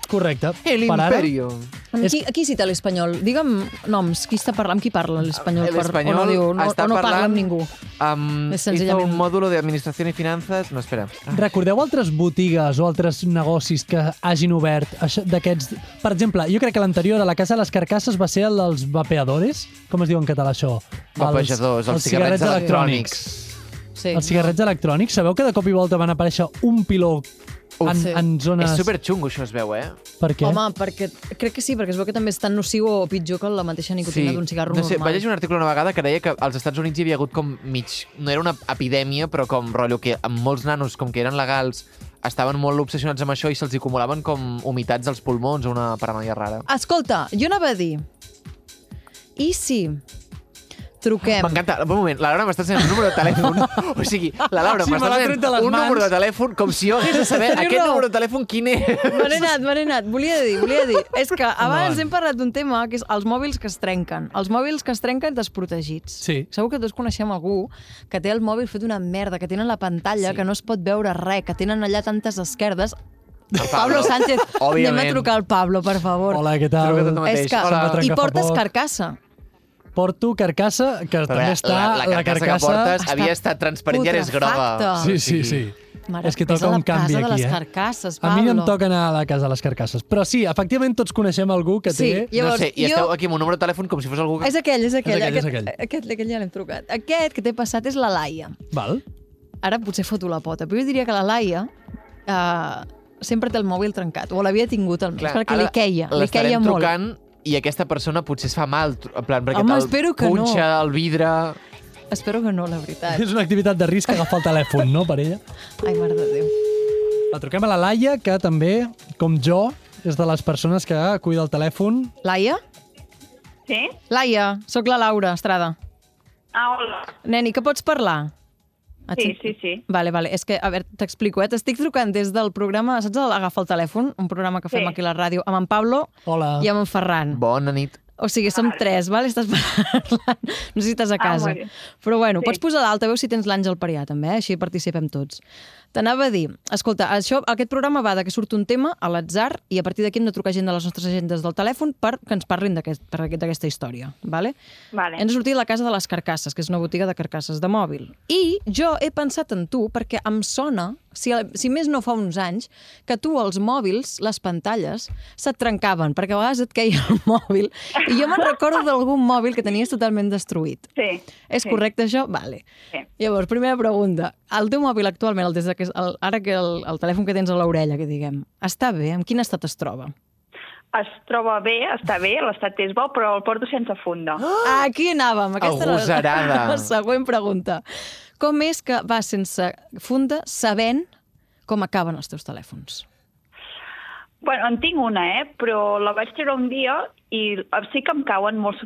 Speaker 3: Correcte.
Speaker 1: El
Speaker 3: Per ara,
Speaker 1: imperio.
Speaker 2: Amb
Speaker 3: És-
Speaker 2: qui, a qui cita l'espanyol? Digue'm noms, qui està parlant, amb qui parla l'espanyol? per- o no, diu, no,
Speaker 1: Eh, està
Speaker 2: o no parla
Speaker 1: parlant
Speaker 2: amb ningú.
Speaker 1: Amb,
Speaker 2: És
Speaker 1: hizo
Speaker 2: senzillament-
Speaker 1: un mòdulo de administració i finances... No, espera.
Speaker 3: Recordeu altres botigues o altres negocis que hagin obert això- d'aquests... Per exemple, jo crec que l'anterior a la Casa de les Carcasses va ser el dels vapeadores. Com es diu en català això? Els-
Speaker 1: Vapejadors, els, cigarrets, electrònics.
Speaker 2: Sí.
Speaker 3: Els cigarrets electrònics. Sabeu que de cop i volta van aparèixer un piló
Speaker 1: Uf,
Speaker 3: en,
Speaker 2: sí.
Speaker 3: en zones...
Speaker 1: És superxungo, això es veu, eh?
Speaker 3: Per què?
Speaker 2: Home, perquè crec que sí, perquè es veu que també és tan nociu o pitjor que la mateixa nicotina d'un cigarro
Speaker 1: no sé,
Speaker 2: normal.
Speaker 1: Vaig llegir un article una vegada que deia que als Estats Units hi havia hagut com mig... No era una epidèmia, però com rotllo que amb molts nanos, com que eren legals, estaven molt obsessionats amb això i se'ls hi acumulaven com humitats als pulmons o una paranoia rara.
Speaker 2: Escolta, jo anava a dir... I si truquem...
Speaker 1: M'encanta. Un moment, la Laura m'està ensenyant un número de telèfon. O sigui, la Laura
Speaker 3: Sí, me
Speaker 1: m'està
Speaker 3: l'ha tret de
Speaker 1: ensenyant
Speaker 3: les
Speaker 1: un
Speaker 3: mans.
Speaker 1: número de telèfon com si jo hagués de saber
Speaker 2: Teniu
Speaker 1: aquest
Speaker 2: raó.
Speaker 1: número de telèfon quin és.
Speaker 2: Me n'he anat, me n'he anat. Volia dir, volia dir. És que abans
Speaker 3: Endavant.
Speaker 2: hem parlat d'un tema que és els mòbils que es trenquen. Els mòbils que es trenquen desprotegits.
Speaker 3: Sí.
Speaker 2: Segur que tots coneixem algú que té el mòbil fet una merda, que tenen la pantalla, sí. que no es pot veure res, que tenen allà tantes esquerdes. Pablo, Pablo Sánchez, anem
Speaker 1: Òbviament.
Speaker 2: a trucar al Pablo, per favor.
Speaker 3: Hola, què tal?
Speaker 1: Truca tu mateix.
Speaker 2: és que...
Speaker 1: Hola.
Speaker 2: I
Speaker 3: Trenca fa
Speaker 2: portes
Speaker 3: poc.
Speaker 2: carcassa.
Speaker 3: Porto carcassa, que
Speaker 1: Però
Speaker 3: també
Speaker 1: la-
Speaker 3: està...
Speaker 1: la, la, carcassa que portes
Speaker 2: Està
Speaker 1: havia estat transparent i ara és groga.
Speaker 2: putrefacta.
Speaker 3: Ah. Sí, sí, sí.
Speaker 2: Mare,
Speaker 3: és que
Speaker 2: vés a
Speaker 3: toca
Speaker 2: la
Speaker 3: un
Speaker 2: casa
Speaker 3: canvi
Speaker 2: de
Speaker 3: aquí,
Speaker 2: les
Speaker 3: eh?
Speaker 2: carcasses,
Speaker 3: A mi no em
Speaker 2: Pablo.
Speaker 3: toca anar a la casa de les carcasses. Però sí, efectivament tots coneixem algú que
Speaker 2: Sí,
Speaker 3: té...
Speaker 1: no
Speaker 2: Llavors,
Speaker 1: sé, i
Speaker 2: jo-
Speaker 1: esteu aquí amb un número de telèfon com si fos algú que...
Speaker 2: És aquell, és aquell.
Speaker 3: aquell, és
Speaker 2: aquest,
Speaker 3: aquell.
Speaker 2: Aquest, aquest ja l'hem trucat. Aquest que t'he passat és la Laia.
Speaker 3: Val?
Speaker 2: Ara potser foto la pota, però jo diria que la Laia eh, sempre té el mòbil trencat, o l'havia tingut almenys, Clar, perquè li
Speaker 1: ara
Speaker 2: queia, li
Speaker 1: l'estarem
Speaker 2: queia molt.
Speaker 1: trucant i aquesta persona potser es fa mal, tru- en plan, perquè
Speaker 2: Home,
Speaker 1: te'l
Speaker 2: espero que no.
Speaker 1: punxa el vidre...
Speaker 2: Espero que no, la veritat.
Speaker 3: És una activitat de risc agafar el telèfon, no, per ella?
Speaker 2: Ai, mare de Déu.
Speaker 3: La truquem a la Laia, que també, com jo, és de les persones que cuida el telèfon.
Speaker 2: Laia?
Speaker 4: Sí?
Speaker 2: Laia, sóc la Laura Estrada.
Speaker 4: Ah, hola.
Speaker 2: Neni, que pots parlar? Et
Speaker 4: Sí,
Speaker 2: sent-
Speaker 4: Ah, sí, sí.
Speaker 2: Vale, vale. És que, a veure, t'explico, eh? T'estic trucant des del programa, saps el Agafa el telèfon? Un programa que fem
Speaker 4: Sí.
Speaker 2: aquí a la ràdio, amb en Pablo
Speaker 3: Hola.
Speaker 2: i amb en Ferran.
Speaker 1: Bona nit.
Speaker 2: O sigui, som tres, val? Estàs parlant. No sé si estàs a
Speaker 4: Ah,
Speaker 2: casa.
Speaker 4: molt bé.
Speaker 2: Però bueno,
Speaker 4: Sí.
Speaker 2: pots posar l'altaveu si tens l'Àngel per allà, també, eh? així participem tots. T'anava a dir, escolta, això, aquest programa va de que surt un tema a l'atzar i a partir d'aquí hem de trucar gent de les nostres agendes del telèfon per que ens parlin d'aquest- per aquest- d'aquesta aquest, història, vale?
Speaker 4: Vale.
Speaker 2: Ens ha sortit la Casa de les Carcasses, que és una botiga de carcasses de mòbil. I jo he pensat en tu perquè em sona, si, si més no fa uns anys, que tu els mòbils, les pantalles, se't trencaven, perquè a vegades et queia el mòbil. I jo me'n recordo d'algun mòbil que tenies totalment destruït.
Speaker 4: Sí.
Speaker 2: És
Speaker 4: sí.
Speaker 2: correcte això? Vale.
Speaker 4: Sí.
Speaker 2: Llavors, primera pregunta. El teu mòbil actualment, el, des de que, el, ara que el, el telèfon que tens a l'orella, que diguem, està bé? En quin estat es troba?
Speaker 4: Es troba bé, està bé, l'estat és bo, però el porto sense funda.
Speaker 2: Oh! Aquí anàvem. Aquesta era la-
Speaker 1: Agosarada.
Speaker 2: la següent pregunta. Com és que va sense funda sabent com acaben els teus telèfons?
Speaker 4: Bueno, en tinc una, eh? Però la vaig treure un dia i sí que em cauen molts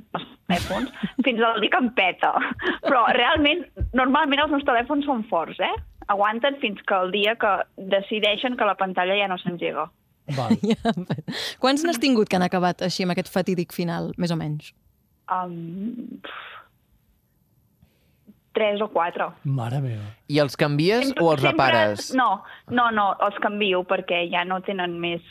Speaker 4: telèfons, fins al dia que em peta. Però realment, normalment els meus telèfons són forts, eh? Aguanten fins que el dia que decideixen que la pantalla ja no s'engega.
Speaker 3: Val.
Speaker 2: Quants n'has tingut que han acabat així amb aquest fatídic final, més o menys?
Speaker 4: Um, pf, tres o quatre.
Speaker 3: Mare meva.
Speaker 1: I els canvies o els
Speaker 4: Sempre-
Speaker 1: repares?
Speaker 4: No, no, no, els canvio perquè ja no tenen més...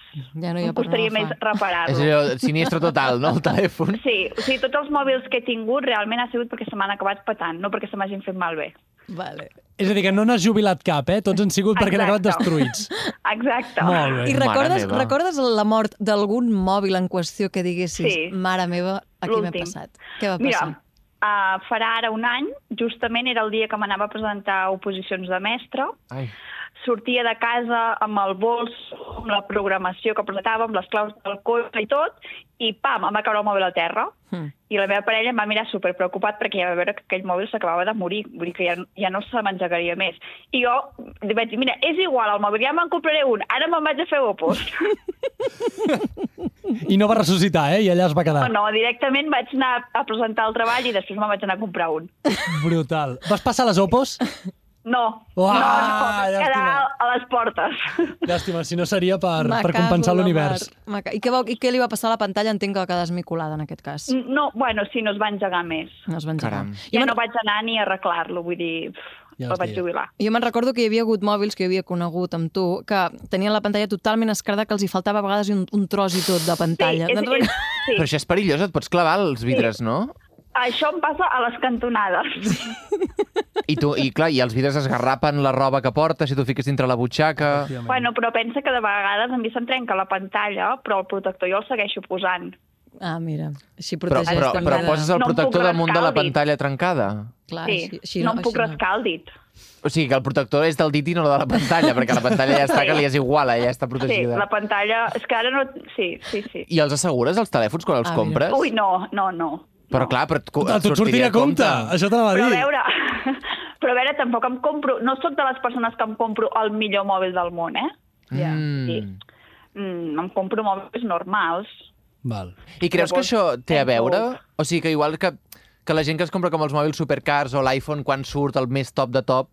Speaker 2: Ja no hi
Speaker 4: Em
Speaker 2: ha per
Speaker 4: costaria més
Speaker 2: agafar.
Speaker 1: És
Speaker 4: reparar-los.
Speaker 1: allò, siniestro total, no, el telèfon?
Speaker 4: Sí, o sigui, tots els mòbils que he tingut realment ha sigut perquè se m'han acabat petant, no perquè se m'hagin fet malbé.
Speaker 2: Vale.
Speaker 3: És a dir, que no n'has jubilat cap, eh? Tots han sigut perquè han acabat
Speaker 4: Exacte.
Speaker 3: destruïts.
Speaker 4: Exacte.
Speaker 3: Molt bé.
Speaker 2: I
Speaker 1: Mare
Speaker 2: recordes,
Speaker 1: meva.
Speaker 2: recordes la mort d'algun mòbil en qüestió que diguessis,
Speaker 4: Sí.
Speaker 2: mare meva, aquí m'he
Speaker 4: L'últim.
Speaker 2: passat? Què va
Speaker 4: Mira,
Speaker 2: passar?
Speaker 4: Uh, farà ara un any, justament era el dia que m'anava a presentar a oposicions de mestre,
Speaker 1: Ai.
Speaker 4: sortia de casa amb el bols, amb la programació que presentava, amb les claus del cotxe i tot, i pam, em va caure el mòbil a terra.
Speaker 2: Mm.
Speaker 3: Hmm.
Speaker 4: I la meva parella em va mirar super preocupat perquè ja va veure que aquell mòbil s'acabava de morir, vull dir que ja, ja no se m'engegaria més. I jo li vaig dir, mira, és igual el mòbil, ja me'n compraré un, ara me'n vaig a fer opos.
Speaker 3: I no va ressuscitar, eh? I allà es va quedar.
Speaker 4: No, no, directament vaig anar a presentar el treball i després me'n vaig anar a comprar un.
Speaker 3: Brutal. Vas passar les opos?
Speaker 4: No,
Speaker 3: Uah,
Speaker 4: no, no, vaig quedar
Speaker 3: llàstima.
Speaker 4: a les portes.
Speaker 3: Llàstima, si no seria per,
Speaker 2: Me
Speaker 3: per
Speaker 2: cago
Speaker 3: compensar
Speaker 2: en la
Speaker 3: l'univers.
Speaker 2: mar. Me ca- I, què va, I què li va passar a la pantalla? Entenc que va quedar esmicolada en aquest cas.
Speaker 4: No, bueno, sí, no es va engegar més.
Speaker 2: No es va engegar.
Speaker 1: Caram.
Speaker 4: Jo
Speaker 2: Jo
Speaker 4: ja
Speaker 2: me'n
Speaker 4: no vaig anar ni a arreglar-lo, vull dir, pff,
Speaker 3: Ja
Speaker 4: ja
Speaker 3: ho
Speaker 4: el vaig
Speaker 3: sé.
Speaker 4: jubilar.
Speaker 2: jo me'n recordo que hi havia hagut mòbils que jo havia conegut amb tu que tenien la pantalla totalment escrada que els hi faltava a vegades un, un tros i tot de pantalla.
Speaker 4: Sí, és, és, sí.
Speaker 1: Però això és perillós, et pots clavar els vidres, no?
Speaker 4: Això em passa a les cantonades.
Speaker 1: I, tu, I clar, i els vidres esgarrapen la roba que portes, si tu fiques dintre la butxaca...
Speaker 4: Bueno, però pensa que de vegades a mi se'm trenca la pantalla, però el protector jo el segueixo posant.
Speaker 2: Ah, mira, així
Speaker 1: Però,
Speaker 2: protegeix
Speaker 1: però,
Speaker 2: també.
Speaker 1: però
Speaker 2: de-
Speaker 1: poses el
Speaker 4: No em puc
Speaker 1: protector damunt de la
Speaker 4: rascar el dit.
Speaker 1: pantalla trencada.
Speaker 2: Clar,
Speaker 4: sí,
Speaker 2: Ah, així, així,
Speaker 4: no em puc
Speaker 2: així
Speaker 4: rascar el dit.
Speaker 1: O sigui, que el protector és del dit i no de la pantalla, perquè la pantalla ja està, que li és igual, eh, ja està
Speaker 4: Sí,
Speaker 1: protegida.
Speaker 4: la pantalla... És que ara no... Sí, sí, sí.
Speaker 1: I els assegures, els telèfons, quan els
Speaker 2: Ah, mira.
Speaker 1: compres?
Speaker 4: Ui, no, no, no.
Speaker 1: Però clar, però et, co-
Speaker 3: Ah, tu et sortiria a compte. Això te l'ha
Speaker 4: Però a
Speaker 3: dit.
Speaker 4: veure, però a veure, tampoc em compro... No sóc de les persones que em compro el millor mòbil del món, eh?
Speaker 2: Ja.
Speaker 1: Mm.
Speaker 4: Mm, em compro mòbils normals.
Speaker 3: Val.
Speaker 1: I creus que
Speaker 4: Llavors,
Speaker 1: això té a
Speaker 4: penso-
Speaker 1: veure? O sigui, que igual que, que la gent que es compra com els mòbils supercars o l'iPhone quan surt el més top de top,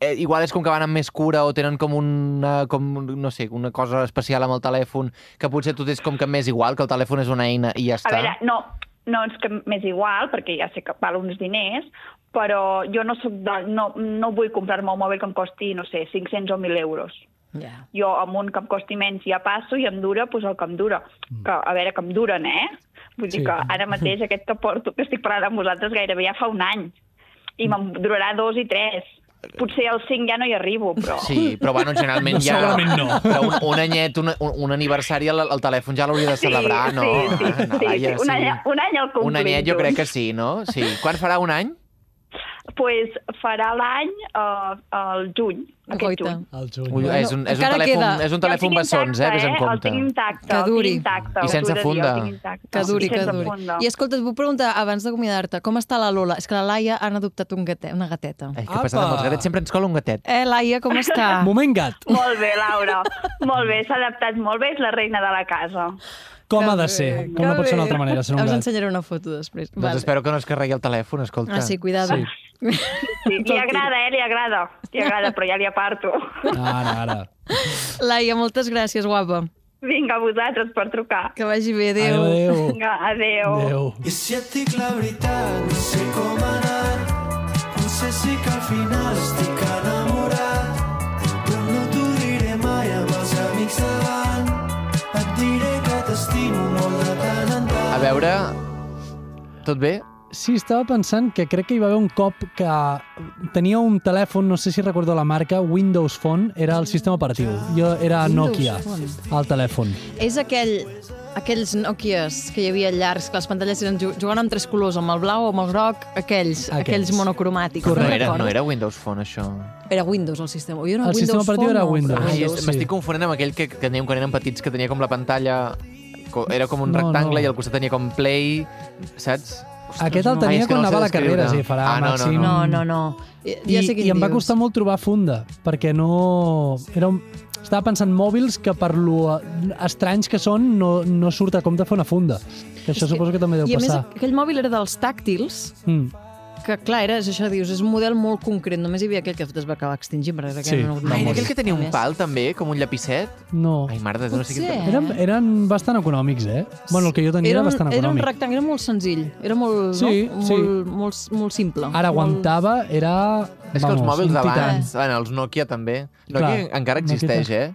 Speaker 1: eh, igual és com que van amb més cura o tenen com una, com, no sé, una cosa especial amb el telèfon que potser tu tens com que més igual, que el telèfon és una eina i ja
Speaker 4: A
Speaker 1: està.
Speaker 4: veure, no, no és que m'és igual, perquè ja sé que val uns diners, però jo no, soc de, no, no vull comprar-me un mòbil que em costi, no sé, 500 o 1.000 euros.
Speaker 2: Ja.
Speaker 4: Jo amb un que em costi menys ja passo i em dura doncs, el que em dura.
Speaker 1: Mm.
Speaker 4: Que, a veure, que em duren, eh? Vull dir
Speaker 3: Sí.
Speaker 4: que ara mateix aquest que porto, que estic parlant amb vosaltres, gairebé ja fa un any. I me'n durarà dos i tres. Potser al cinc ja no hi arribo, però...
Speaker 1: Sí, però bueno, generalment
Speaker 3: No,
Speaker 1: ja...
Speaker 3: segurament no.
Speaker 1: Però un, un anyet, un, un, un aniversari, el, el telèfon ja l'hauria de celebrar, no?
Speaker 4: Sí, sí,
Speaker 1: Ah,
Speaker 4: sí,
Speaker 1: Laia,
Speaker 4: sí. Un, any, un any el complim.
Speaker 1: Un anyet jo
Speaker 4: junts.
Speaker 1: crec que sí, no? Sí. Quan farà un any?
Speaker 4: pues farà l'any uh, el juny, aquest
Speaker 2: Goita.
Speaker 4: juny.
Speaker 3: El juny.
Speaker 1: Ui, és un, és un
Speaker 2: encara
Speaker 1: telèfon,
Speaker 2: queda.
Speaker 1: és un telèfon bessons, eh? Ves en
Speaker 4: El
Speaker 1: compte.
Speaker 4: tinc intacte,
Speaker 2: Que duri.
Speaker 4: El tinc intacte,
Speaker 1: I
Speaker 4: us ho
Speaker 1: sense
Speaker 4: he de dir,
Speaker 1: funda.
Speaker 4: el tinc intacte.
Speaker 2: Que duri,
Speaker 4: I
Speaker 2: que
Speaker 4: Ah, sense
Speaker 2: duri.
Speaker 4: Funda.
Speaker 2: I escolta, et vull preguntar, abans d'acomiadar-te, com està la Lola? És que la Laia han adoptat un gatet, una gateta.
Speaker 1: Ai, què passa amb els
Speaker 3: Apa!
Speaker 1: gatets? Sempre ens cola un gatet.
Speaker 2: Eh, Laia, com està?
Speaker 3: Moment gat.
Speaker 4: Molt bé, Laura. molt bé, s'ha adaptat molt bé, és la reina de la casa.
Speaker 3: Com
Speaker 2: Que
Speaker 3: ha de
Speaker 2: bé,
Speaker 3: ser? Com
Speaker 2: que
Speaker 3: no pot
Speaker 2: bé.
Speaker 3: ser d'una altra manera, ser un
Speaker 2: Us
Speaker 3: gat?
Speaker 2: ensenyaré una foto després.
Speaker 1: Doncs espero que no es carregui el telèfon, escolta.
Speaker 2: Ah, sí, cuidado.
Speaker 3: Sí.
Speaker 4: Sí, li agrada, eh? Li agrada. Li agrada, però ja li aparto.
Speaker 3: Ara, ara.
Speaker 2: Laia, moltes gràcies, guapa.
Speaker 4: Vinga, a vosaltres per trucar.
Speaker 2: Que vagi bé, adéu.
Speaker 3: Adéu, adéu.
Speaker 4: Vinga, adeu.
Speaker 3: Adéu.
Speaker 6: I si et dic la veritat, no sé com ha anat. Potser sí que al final estic enamorat, però no t'ho diré mai amb els amics davant. Et diré que t'estimo molt de tant en tant.
Speaker 1: A veure... Tot bé?
Speaker 3: Sí, estava pensant que crec que hi va haver un cop que tenia un telèfon, no sé si recordo la marca, Windows Phone, era el sistema operatiu. Jo era
Speaker 2: Ah. Windows
Speaker 3: Nokia,
Speaker 2: Phone.
Speaker 3: el telèfon.
Speaker 2: És aquell aquells Nokias que hi havia llargs, que les pantalles eren ju- jugant amb tres colors, amb el blau o amb el groc, aquells, aquells, monocromàtics.
Speaker 1: No
Speaker 3: Correcte.
Speaker 1: era,
Speaker 2: recordo.
Speaker 1: no era Windows Phone, això.
Speaker 2: Era Windows el sistema. Jo era
Speaker 3: El
Speaker 2: Windows
Speaker 3: sistema operatiu
Speaker 2: Phone
Speaker 3: era
Speaker 2: o-
Speaker 3: Windows. Ah,
Speaker 1: Ai,
Speaker 3: Windows,
Speaker 1: és-
Speaker 3: sí.
Speaker 1: m'estic confonent amb aquell que, que teníem quan érem petits, que tenia com la pantalla... co- Era com un
Speaker 3: No,
Speaker 1: rectangle
Speaker 3: no.
Speaker 1: i al costat tenia com play, saps?
Speaker 3: Aquest el tenia
Speaker 1: Ai, és que
Speaker 3: quan
Speaker 1: no sé
Speaker 3: anava a la
Speaker 1: descriure.
Speaker 3: carrera, sí, farà
Speaker 1: ah, no,
Speaker 3: màxim.
Speaker 1: No, no.
Speaker 2: No, no, no. I,
Speaker 3: Mm. I,
Speaker 2: ja sé quin
Speaker 3: i em va
Speaker 2: dius.
Speaker 3: costar molt trobar funda, perquè no... Era un... Estava pensant mòbils que per lo estranys que són no, no surt a compte fer una funda. Que això
Speaker 2: És que-
Speaker 3: suposo que també deu
Speaker 2: I a
Speaker 3: passar.
Speaker 2: més, aquell mòbil era dels tàctils,
Speaker 3: Mm.
Speaker 2: que clar, era, és això, dius, és un model molt concret. Només hi havia aquell que es va acabar extingint, perquè era
Speaker 3: Sí.
Speaker 2: aquell no,
Speaker 1: Ai,
Speaker 3: No,
Speaker 1: era aquell que tenia un pal, també, com un llapicet?
Speaker 3: No.
Speaker 1: Ai, mare de Déu, no sé
Speaker 2: Potser.
Speaker 1: quin...
Speaker 3: Eren, eren bastant econòmics, eh? Bueno, el que jo tenia
Speaker 2: eh? Era
Speaker 3: era,
Speaker 2: un,
Speaker 3: bastant
Speaker 2: era un
Speaker 3: econòmic.
Speaker 2: rectangle, era molt senzill, era molt,
Speaker 3: Sí,
Speaker 2: no?
Speaker 3: sí.
Speaker 2: Molt, molt, molt simple.
Speaker 3: Ara aguantava, era...
Speaker 1: És que els mòbils
Speaker 3: un tità.
Speaker 1: d'abans, bueno, els Nokia també.
Speaker 3: Clar,
Speaker 1: Nokia encara
Speaker 3: Nokia
Speaker 1: existeix, eh?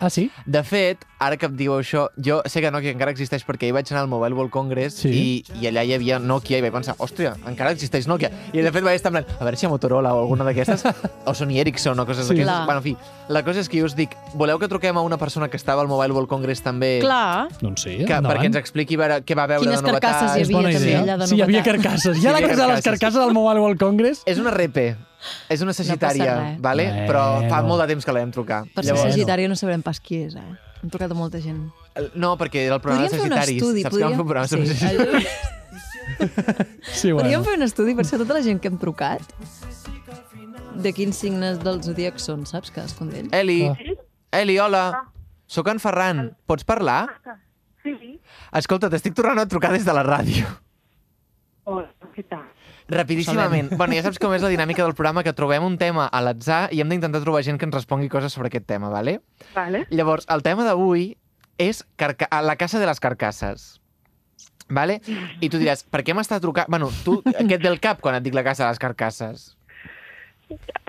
Speaker 3: Ah, sí?
Speaker 1: De fet, ara que em diu això, jo sé que Nokia encara existeix perquè hi vaig anar al Mobile World Congress
Speaker 3: Sí.
Speaker 1: sí. i, i allà hi havia Nokia i vaig pensar, hòstia, encara existeix Nokia. I de fet vaig estar en plan, a veure si hi ha Motorola o alguna d'aquestes, o Sony Ericsson o coses
Speaker 3: Sí.
Speaker 1: sí. d'aquestes.
Speaker 2: Clar.
Speaker 1: Bueno, en fi, la cosa és que jo us dic, voleu que truquem a una persona que estava al Mobile World Congress també?
Speaker 2: Clar,
Speaker 3: Doncs sí,
Speaker 1: Que,
Speaker 3: endavant.
Speaker 1: perquè ens expliqui a veure què va veure
Speaker 2: quines
Speaker 1: de novetats.
Speaker 2: carcasses hi
Speaker 3: És bona
Speaker 2: havia també
Speaker 3: idea.
Speaker 2: allà de
Speaker 3: sí, hi havia
Speaker 2: novetat.
Speaker 3: carcasses. Ja
Speaker 1: Sí, hi
Speaker 3: la
Speaker 1: havia
Speaker 3: cosa de les
Speaker 1: carcasses.
Speaker 3: carcasses del Mobile World Congress...
Speaker 1: És una repe. És una sagitària,
Speaker 2: passa res.
Speaker 1: vale?
Speaker 3: Bueno.
Speaker 1: però fa molt de temps que la vam trucar.
Speaker 2: Per ser
Speaker 3: Llavors-
Speaker 2: sagitari no sabrem pas qui és, eh? Hem trucat a molta gent.
Speaker 1: eh, No, perquè era el programa
Speaker 2: podríem
Speaker 1: de
Speaker 2: fer un
Speaker 1: Sagitaris.
Speaker 2: estudi.
Speaker 1: Saps que vam
Speaker 2: podríem...
Speaker 1: fer un programa sobre
Speaker 2: sí,
Speaker 1: Sagitaris?
Speaker 2: allò-
Speaker 3: Sí,
Speaker 2: podríem
Speaker 3: bueno.
Speaker 2: fer un estudi per ser tota la gent que hem trucat de quins signes del zodíac són, saps? Cadascun d'ells.
Speaker 1: Eli,
Speaker 3: Ah.
Speaker 1: Eli, hola.
Speaker 7: Ah.
Speaker 1: Sóc en Ferran. Pots parlar?
Speaker 7: Sí.
Speaker 1: Escolta, t'estic tornant a trucar des de la ràdio.
Speaker 7: Hola, què tal?
Speaker 1: Rapidíssimament. Bueno, ja saps com és la dinàmica del programa, que trobem un tema a l'atzar i hem d'intentar trobar gent que ens respongui coses sobre aquest tema, vale?
Speaker 7: Vale.
Speaker 1: Llavors, el tema d'avui és carca a la caça de les carcasses. Vale? I tu diràs, per què m'està trucant? Bueno, tu, què et ve el cap quan et dic la caça de les carcasses?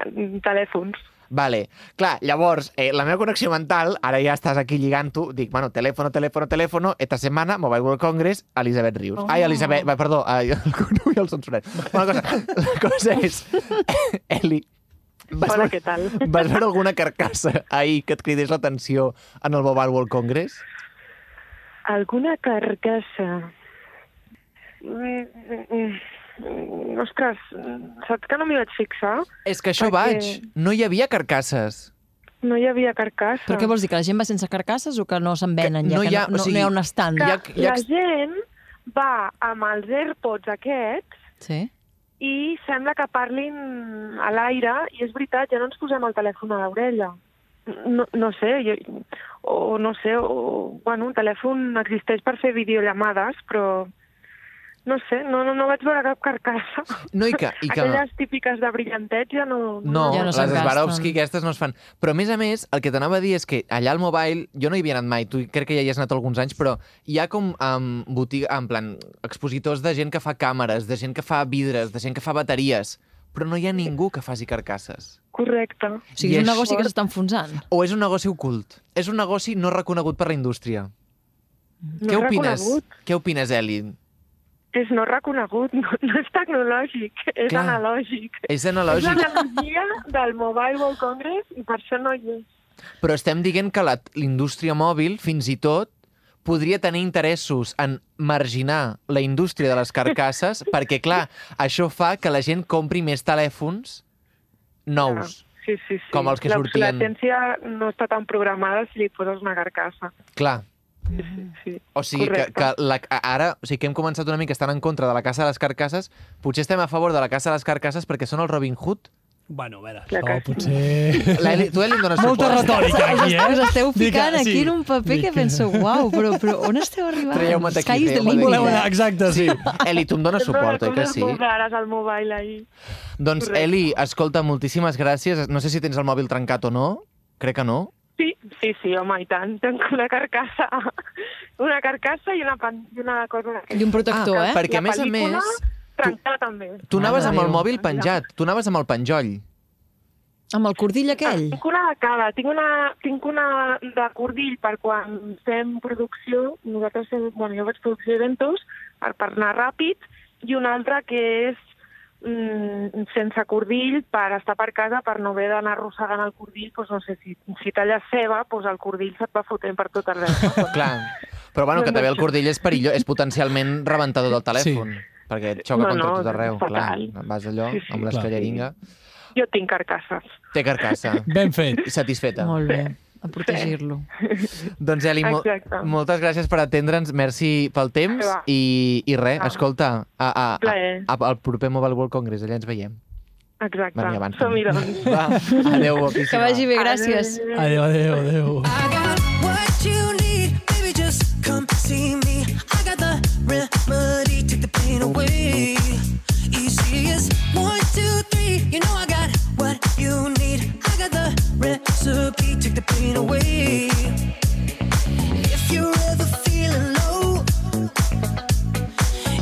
Speaker 7: Mm, Telèfons.
Speaker 1: Vale. Clar, llavors, eh, la meva connexió mental, ara ja estàs aquí lligant-ho, dic, bueno, teléfono, teléfono, teléfono, esta setmana, Mobile World Congress, Elisabet Rius.
Speaker 7: Oh.
Speaker 1: Ai, Elisabet, va, perdó, ai, el Cunu i el Sonsonet. Una cosa, la cosa és, Eli, vas,
Speaker 7: Hola,
Speaker 1: veure,
Speaker 7: què tal?
Speaker 1: vas veure alguna carcassa ahir que et cridés l'atenció en el Mobile World Congress?
Speaker 7: Alguna carcassa. Mm, mm, mm, Ostres, saps que no m'hi vaig fixar?
Speaker 1: És que això
Speaker 7: Perquè-
Speaker 1: vaig, no hi havia carcasses.
Speaker 7: No hi havia carcassa.
Speaker 2: Però què vols dir, que la gent va sense carcasses o que no se'n venen
Speaker 1: Eh, Que no
Speaker 2: ja, que
Speaker 1: hi ha- o
Speaker 2: no, no,
Speaker 1: sigui,
Speaker 2: no hi ha un estant?
Speaker 7: Que
Speaker 1: hi ha- hi ha-
Speaker 7: La gent va amb els AirPods aquests
Speaker 2: Sí.
Speaker 7: i sembla que parlin a l'aire i és veritat, ja no ens posem el telèfon a l'orella. No, no sé, jo, o no sé, o, bueno, un telèfon existeix per fer videollamades, però no sé, no, no, no vaig veure cap carcassa.
Speaker 1: No, i que... I que... Mm.
Speaker 7: Aquelles típiques de brillantets ja no...
Speaker 1: No, ja
Speaker 2: Ja
Speaker 1: no
Speaker 2: no
Speaker 1: les
Speaker 2: se'n gasten.
Speaker 1: Swarovski aquestes no es fan. Però, a més a més, el que t'anava a dir és que allà al Mobile, jo no hi havia anat mai, tu crec que ja hi has anat alguns anys, però hi ha com um, botiga, en plan, expositors de gent que fa càmeres, de gent que fa vidres, de gent que fa bateries, però no hi ha ningú que faci carcasses.
Speaker 7: Correcte.
Speaker 2: O sigui,
Speaker 1: I
Speaker 2: és un
Speaker 1: això-
Speaker 2: negoci que s'està enfonsant.
Speaker 1: O és un negoci ocult. És un negoci no reconegut per la indústria.
Speaker 7: No
Speaker 1: Què
Speaker 7: és
Speaker 1: opines?
Speaker 7: reconegut.
Speaker 1: Què opines, Eli?
Speaker 7: És no reconegut, no, no és tecnològic, és
Speaker 1: Clar.
Speaker 7: analògic.
Speaker 1: És
Speaker 7: És
Speaker 1: analògic,
Speaker 7: l'analogia del Mobile World Congress i per això no hi és.
Speaker 1: però estem dient que la- l'indústria mòbil, fins i tot, podria tenir interessos en marginar la indústria de les carcasses, perquè, clar, això fa que la gent compri més telèfons nous.
Speaker 7: Sí, sí, sí.
Speaker 1: Com els que sortien.
Speaker 7: L'obsolescència no està tan programada si li poses una carcassa.
Speaker 1: Clar.
Speaker 7: Sí, sí, sí.
Speaker 1: O sigui, que,
Speaker 7: Correcte.
Speaker 1: que la, ara, o sigui, que hem començat una mica estant en contra de la caça de les carcasses, potser estem a favor de la caça de les carcasses perquè són el Robin Hood.
Speaker 3: Bueno, a veure,
Speaker 7: La
Speaker 3: això
Speaker 7: caça.
Speaker 3: potser...
Speaker 1: La Eli, tu, Eli, em dones
Speaker 3: Molta
Speaker 1: suport.
Speaker 3: retòrica aquí, eh?
Speaker 2: Us esteu
Speaker 3: Dic,
Speaker 2: ficant
Speaker 3: ah, sí.
Speaker 2: aquí en un paper que
Speaker 3: Dic,
Speaker 2: penso, uau, però, però on esteu arribant?
Speaker 1: Traieu-me d'aquí,
Speaker 2: Sky is the
Speaker 1: traieu-me
Speaker 2: limit,
Speaker 3: Voleu
Speaker 1: d'aquí.
Speaker 3: anar,
Speaker 2: eh?
Speaker 3: exacte, sí.
Speaker 1: Eli, tu em dones suport, oi eh, que sí?
Speaker 7: Com compraràs el mobile ahir?
Speaker 1: Doncs,
Speaker 7: Correcte.
Speaker 1: Eli, escolta, moltíssimes gràcies. No sé si tens el mòbil trencat o no. Crec que no.
Speaker 7: Sí, sí, sí, home, i tant. Tenc una carcassa, una carcassa i una, pan, i una cosa...
Speaker 2: I un protector,
Speaker 1: Ah,
Speaker 2: eh?
Speaker 1: perquè a
Speaker 7: La
Speaker 1: més a
Speaker 7: pel·lícula
Speaker 1: més,
Speaker 7: Trencada també.
Speaker 1: Tu
Speaker 2: Mare
Speaker 1: anaves
Speaker 2: de
Speaker 1: amb el
Speaker 2: Déu.
Speaker 1: mòbil penjat, tu anaves amb el penjoll.
Speaker 2: Amb el cordill aquell.
Speaker 7: Ah, Tinc una de cada. Tinc una, tinc una de cordill per quan fem producció. Nosaltres fem, bueno, jo faig producció d'eventos per, per anar ràpid i una altra que és mm, sense cordill per estar per casa per no haver d'anar arrossegant el cordill doncs no sé, si, si talles ceba, doncs el cordill se't va fotent per tot arreu.
Speaker 1: Clar. Però bueno, que també el cordill és perillós, és potencialment rebentador del telèfon. Perquè et xoca
Speaker 7: No,
Speaker 1: contra
Speaker 7: no,
Speaker 1: tot arreu.
Speaker 7: és
Speaker 1: Clar,
Speaker 7: fatal.
Speaker 1: vas allò,
Speaker 7: Sí, sí.
Speaker 1: amb
Speaker 7: Clar.
Speaker 1: l'escalleringa.
Speaker 7: Jo tinc carcasses.
Speaker 1: Té carcassa.
Speaker 3: Ben fet.
Speaker 1: Satisfeta.
Speaker 2: Molt bé, a protegir-lo.
Speaker 1: Doncs, Eli, mo
Speaker 7: Exacte.
Speaker 1: moltes gràcies per atendre'ns. Merci pel temps.
Speaker 7: Va.
Speaker 1: I, i res,
Speaker 7: Va.
Speaker 1: escolta, a, a, a,
Speaker 7: Plaer.
Speaker 1: a, al proper Mobile World Congress, allà ens veiem.
Speaker 7: Exacte.
Speaker 1: Venia abans.
Speaker 7: Som-hi, doncs.
Speaker 1: Va, adeu, guapíssima.
Speaker 2: Que vagi bé, gràcies.
Speaker 7: Adéu.
Speaker 3: Adéu, adéu, adéu.
Speaker 8: I got what you need, baby. Just come see me. I got the remedy, take the pain away. Easy as one, two, three. You know I got what you need. I got the recipe, take the pain away. If you're ever feeling low,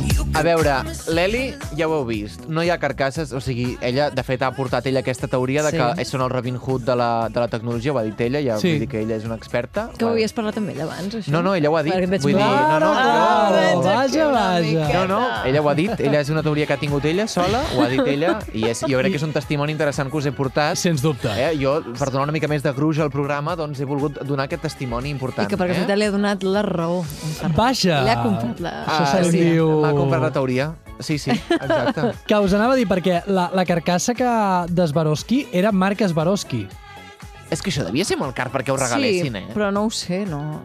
Speaker 8: you
Speaker 1: A
Speaker 8: can
Speaker 1: veure, l'Eli ja ho heu vist, no hi ha carcasses, o sigui, ella, de fet, ha portat ella aquesta teoria de
Speaker 2: Sí.
Speaker 1: que són el Robin Hood de la, de la tecnologia, ho ha dit ella, ja
Speaker 3: Sí.
Speaker 1: sí. vull dir que ella és una experta.
Speaker 2: Que ho havies parlat amb ell abans, això?
Speaker 1: No, no, ella ho ha dit.
Speaker 2: Perquè veig
Speaker 1: Vull dir, no, no,
Speaker 2: Ah,
Speaker 1: no.
Speaker 2: veig aquí
Speaker 3: Vaja,
Speaker 2: una
Speaker 3: vaja.
Speaker 1: No,
Speaker 2: miqueta.
Speaker 1: no, ella ho ha dit, ella és una teoria que ha tingut ella sola, ho ha dit ella, i és, jo crec que és un testimoni interessant que us he portat.
Speaker 3: Sens dubte.
Speaker 1: Eh, jo, per donar una mica més de gruix al programa, doncs he volgut donar aquest testimoni important.
Speaker 2: I que per
Speaker 1: eh?
Speaker 2: casualitat li ha donat la raó. en Ferran.
Speaker 3: Vaja!
Speaker 2: Li ha comprat la...
Speaker 3: Això se li
Speaker 1: Ah, sí,
Speaker 3: diu-
Speaker 1: M'ha comprat la teoria. Sí, sí, exacte.
Speaker 3: Que us anava a dir, perquè la, la carcassa que d'Esbaroski era marca Esbaroski.
Speaker 1: És que això devia ser molt car perquè ho
Speaker 2: sí,
Speaker 1: regalessin, eh?
Speaker 2: però no ho sé, no.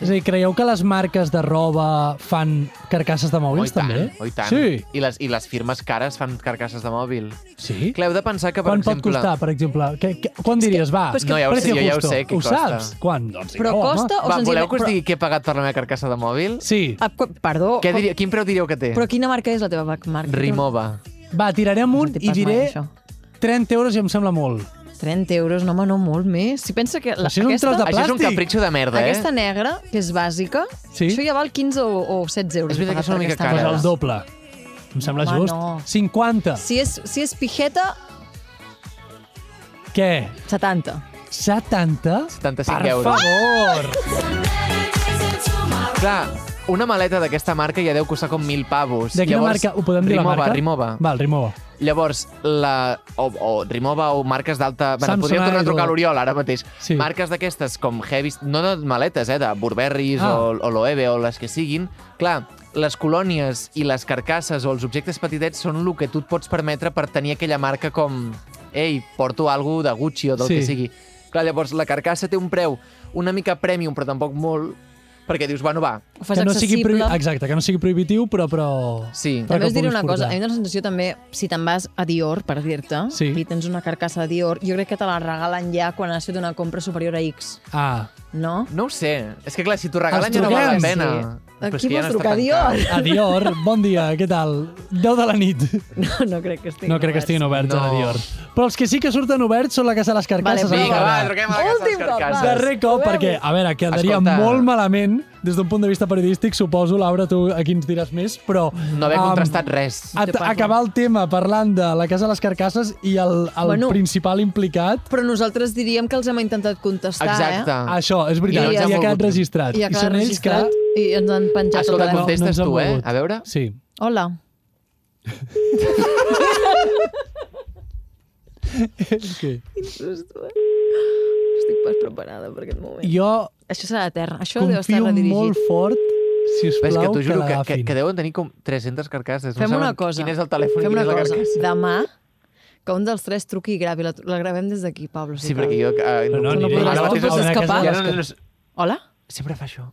Speaker 3: És a dir, creieu que les marques de roba fan carcasses de
Speaker 1: Oh,
Speaker 3: mòbils,
Speaker 1: i tant,
Speaker 3: també?
Speaker 1: oh, i tant.
Speaker 3: Sí,
Speaker 1: I les, I les firmes cares fan carcasses de mòbil.
Speaker 3: sí.
Speaker 1: Clar, heu de pensar que, per
Speaker 3: Quan pot
Speaker 1: exemple...
Speaker 3: costar, per exemple? Que, que, quan diries, va?
Speaker 2: però és que-
Speaker 1: No, ja ho sé, jo ja ho sé, que
Speaker 3: Ho
Speaker 1: costa.
Speaker 3: saps? Quan? Doncs,
Speaker 2: Però
Speaker 3: home.
Speaker 2: costa o
Speaker 1: Va, voleu que us
Speaker 2: senzillament...
Speaker 1: digui què he pagat per la meva carcassa de mòbil?
Speaker 3: Sí.
Speaker 2: però- Ah, co- Perdó,
Speaker 1: Què
Speaker 2: com-
Speaker 1: diria, quin preu diríeu que té?
Speaker 2: però quina marca és la teva marca?
Speaker 1: Rimova.
Speaker 3: Va, tiraré amunt
Speaker 2: No t'hi
Speaker 3: i
Speaker 2: pas
Speaker 3: diré
Speaker 2: mai, això.
Speaker 3: 30 euros i em sembla molt.
Speaker 2: 30 euros, no, home, no molt més. Si pensa que la,
Speaker 3: Això és un
Speaker 2: aquesta,
Speaker 3: tros de
Speaker 1: Això és un
Speaker 3: plàstic.
Speaker 1: capritxo de merda, eh?
Speaker 2: aquesta negra, que és bàsica,
Speaker 3: Sí.
Speaker 2: això ja val 15 o, o 16 euros.
Speaker 1: És veritat que
Speaker 2: pagar
Speaker 1: són una
Speaker 2: per
Speaker 1: mica
Speaker 2: aquesta
Speaker 1: cares.
Speaker 3: Doncs
Speaker 2: merda.
Speaker 3: el doble. Em sembla
Speaker 2: Home,
Speaker 3: just.
Speaker 2: no.
Speaker 3: 50.
Speaker 2: Si és, si és pijeta,
Speaker 3: Què?
Speaker 2: 70.
Speaker 3: 70?
Speaker 1: 75
Speaker 3: per
Speaker 1: euros.
Speaker 3: favor!
Speaker 1: Clar, una maleta d'aquesta marca ja deu costar com 1.000 pavos.
Speaker 3: De quina
Speaker 1: Llavors,
Speaker 3: marca? Ho podem dir,
Speaker 1: Rimova,
Speaker 3: la marca?
Speaker 1: Rimova.
Speaker 3: Val, Rimova.
Speaker 1: Llavors, la, o, o Rimova o marques d'alta... Bueno,
Speaker 3: Samsonite
Speaker 1: podríem tornar a trucar a
Speaker 3: o-
Speaker 1: l'Oriol ara mateix.
Speaker 3: Sí.
Speaker 1: Sí. Marques d'aquestes com heavy... No de maletes, eh? De Burberrys
Speaker 3: Ah.
Speaker 1: ah. o, o l'Oeve o les que siguin. Clar, les colònies i les carcasses o els objectes petitets són el que tu et pots permetre per tenir aquella marca com... Ei, porto algo de Gucci o del
Speaker 3: Sí.
Speaker 1: que sigui. Clar, llavors la carcassa té un preu una mica premium, però tampoc molt, perquè dius, bueno, va,
Speaker 2: Ho fas
Speaker 3: que no sigui prohi...
Speaker 2: accessible.
Speaker 3: Exacte, que no sigui prohibitiu, però... però...
Speaker 1: sí.
Speaker 3: Però
Speaker 2: També
Speaker 3: que
Speaker 2: us diré
Speaker 3: puguis
Speaker 2: una cosa,
Speaker 3: portar.
Speaker 2: a mi em dóna la sensació també, si te'n vas a Dior, per dir-te,
Speaker 3: Sí.
Speaker 2: i tens una carcassa de Dior, jo crec que te la regalen ja quan has fet una compra superior a X,
Speaker 3: Ah,
Speaker 2: no?
Speaker 1: No ho sé. És que, clar, si t'ho regalen
Speaker 3: Els
Speaker 1: ja no val la
Speaker 3: truquem.
Speaker 1: pena.
Speaker 2: Sí.
Speaker 1: Però és
Speaker 2: Aquí
Speaker 1: que ja
Speaker 2: vols
Speaker 1: no està
Speaker 2: trucar,
Speaker 1: tancat.
Speaker 2: Dior?
Speaker 3: a Dior, bon dia, què tal? 10 de la nit.
Speaker 2: No, no crec que estigui.
Speaker 3: No crec que estiguin oberts no. a
Speaker 1: No.
Speaker 3: Dior. Però els que sí que surten oberts són la Casa de les Carcasses.
Speaker 2: Vale,
Speaker 1: Vinga,
Speaker 3: ara.
Speaker 1: va, truquem a la casa de
Speaker 2: Últim
Speaker 1: les
Speaker 2: cop,
Speaker 1: carcasses.
Speaker 2: va.
Speaker 3: Darrer cop,
Speaker 2: Ho veu?
Speaker 3: perquè, a veure, quedaria
Speaker 1: Escolta.
Speaker 3: molt malament des d'un punt de vista periodístic, suposo, Laura, tu aquí ens diràs més, però...
Speaker 1: No haver
Speaker 3: em,
Speaker 1: contrastat res.
Speaker 3: a-
Speaker 2: Te parlo.
Speaker 3: acabar el tema parlant de la Casa de les Carcasses i el, el
Speaker 2: Bueno.
Speaker 3: bueno, principal implicat...
Speaker 2: Però nosaltres diríem que els hem intentat contestar,
Speaker 1: Exacte.
Speaker 2: eh?
Speaker 3: Això, és veritat,
Speaker 2: I
Speaker 3: i,
Speaker 2: ja ens
Speaker 3: ja, ha
Speaker 1: ha
Speaker 3: quedat
Speaker 1: volgut.
Speaker 3: registrat.
Speaker 2: I ha quedat registrat i ens han penjat
Speaker 1: Escolta,
Speaker 2: el telèfon.
Speaker 1: contesta. Contestes
Speaker 3: ens han
Speaker 1: tu, eh?
Speaker 3: volgut.
Speaker 1: A veure.
Speaker 3: Sí.
Speaker 2: Hola.
Speaker 3: Okay.
Speaker 2: Estic pas preparada per aquest moment.
Speaker 3: Jo
Speaker 2: Això serà de terra. Això deu estar
Speaker 3: confio
Speaker 2: redirigit.
Speaker 3: molt fort, si us
Speaker 1: Ves que
Speaker 3: plau,
Speaker 1: t'ho juro que, que,
Speaker 3: l'agafin.
Speaker 1: que deuen tenir com 300 carcasses.
Speaker 2: Fem
Speaker 1: no
Speaker 2: una
Speaker 1: saben
Speaker 2: cosa.
Speaker 1: Quin és el telèfon i
Speaker 2: Fem
Speaker 1: quina
Speaker 2: una
Speaker 1: és la
Speaker 2: cosa.
Speaker 1: carcassa.
Speaker 2: Demà, que un dels tres truqui i gravi. La, la gravem des d'aquí, Pablo.
Speaker 1: Sí, perquè jo... eh,
Speaker 3: No, no,
Speaker 1: puc.
Speaker 2: aniré.
Speaker 1: Ara
Speaker 2: No
Speaker 1: mateix
Speaker 2: pots
Speaker 1: no-
Speaker 2: escapar.
Speaker 1: Ja no,
Speaker 3: no,
Speaker 1: no, no,
Speaker 2: Hola?
Speaker 1: sempre fa això.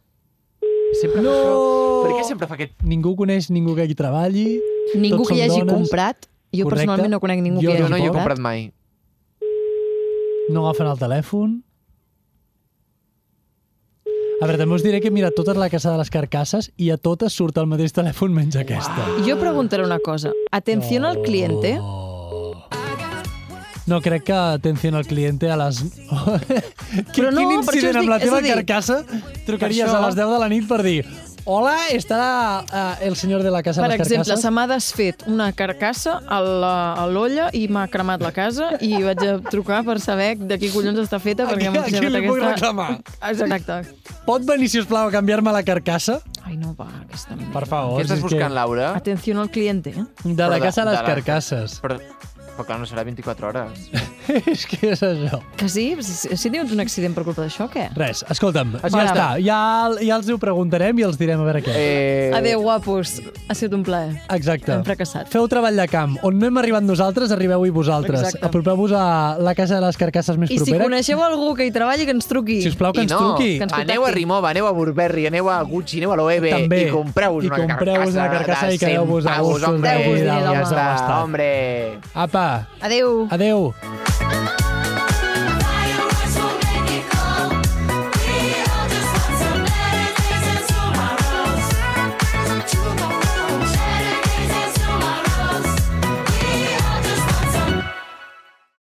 Speaker 1: Sempre
Speaker 3: No!
Speaker 1: fa això. Per què sempre fa aquest...
Speaker 3: Ningú coneix ningú que hi treballi.
Speaker 2: Ningú
Speaker 3: Tots
Speaker 2: que hi
Speaker 3: som
Speaker 2: hagi
Speaker 3: dones.
Speaker 2: comprat. Jo
Speaker 3: Correcte.
Speaker 2: personalment no conec ningú
Speaker 3: Jo
Speaker 2: que
Speaker 1: Jo
Speaker 2: hi hagi
Speaker 1: no hi he comprat
Speaker 2: comprat.
Speaker 1: mai.
Speaker 3: No agafen el telèfon. A veure, també us diré que he mirat tota la casa de les carcasses i a totes surt el mateix telèfon menys aquesta.
Speaker 2: Jo preguntaré una cosa. Atenció al cliente.
Speaker 3: Oh. No, crec que atenció al cliente a les...
Speaker 2: Però no,
Speaker 3: Quin
Speaker 2: per això us
Speaker 3: incident amb
Speaker 2: dic,
Speaker 3: la
Speaker 2: és
Speaker 3: teva
Speaker 2: a dir,
Speaker 3: carcassa trucaries
Speaker 2: per això-
Speaker 3: a les 10 de la nit per dir Hola, està eh, el senyor de la casa
Speaker 2: Per
Speaker 3: de les
Speaker 2: exemple,
Speaker 3: carcasses?
Speaker 2: se m'ha desfet una carcassa a la- a l'olla i m'ha cremat la casa i vaig a trucar per saber de qui collons està feta perquè m'ha
Speaker 3: a qui li puc reclamar?
Speaker 2: Exacte.
Speaker 3: Pot venir, si us plau, a canviar-me la carcassa?
Speaker 2: Ai, no va, aquesta merda.
Speaker 3: Per favor.
Speaker 1: Què estàs
Speaker 3: si Oh, és
Speaker 1: buscant, Laura?
Speaker 2: Atenció al cliente. eh?
Speaker 3: Que... De la
Speaker 1: Però de-
Speaker 3: casa a
Speaker 1: de
Speaker 3: les
Speaker 1: la-
Speaker 3: carcasses.
Speaker 1: Però, però clar, no serà 24 hores.
Speaker 3: és que és això.
Speaker 2: Que sí? Si, si tens un accident per culpa d'això, què?
Speaker 3: Res, escolta'm, ja
Speaker 2: Vale.
Speaker 3: està. Ja, ja els ho preguntarem i els direm a veure què.
Speaker 1: Eh,
Speaker 2: Adéu, guapos. Ha sigut un plaer.
Speaker 3: Exacte.
Speaker 2: Hem fracassat.
Speaker 3: Feu treball de camp. On no hem arribat nosaltres, arribeu-hi vosaltres.
Speaker 2: Exacte.
Speaker 3: Apropeu-vos a la casa de les carcasses més
Speaker 2: I si
Speaker 3: propera.
Speaker 2: coneixeu algú que hi treballi, que ens truqui.
Speaker 3: Si us plau,
Speaker 1: I
Speaker 3: que ens
Speaker 1: no,
Speaker 3: truqui.
Speaker 2: que ens
Speaker 1: aneu a
Speaker 2: contacti.
Speaker 1: Rimova, aneu a Burberry, aneu a Gucci, aneu a l'Oeve
Speaker 3: També.
Speaker 1: i compreu-vos
Speaker 3: I
Speaker 1: una
Speaker 3: compreu-vos una carcassa
Speaker 1: de
Speaker 3: i quedeu-vos a
Speaker 1: 100 pavos,
Speaker 3: gust.
Speaker 1: hombre.
Speaker 2: Deu-vos diners,
Speaker 1: Ja
Speaker 2: home.
Speaker 1: està, hombre.
Speaker 3: Apa,
Speaker 2: Adéu.
Speaker 3: adeu.
Speaker 6: I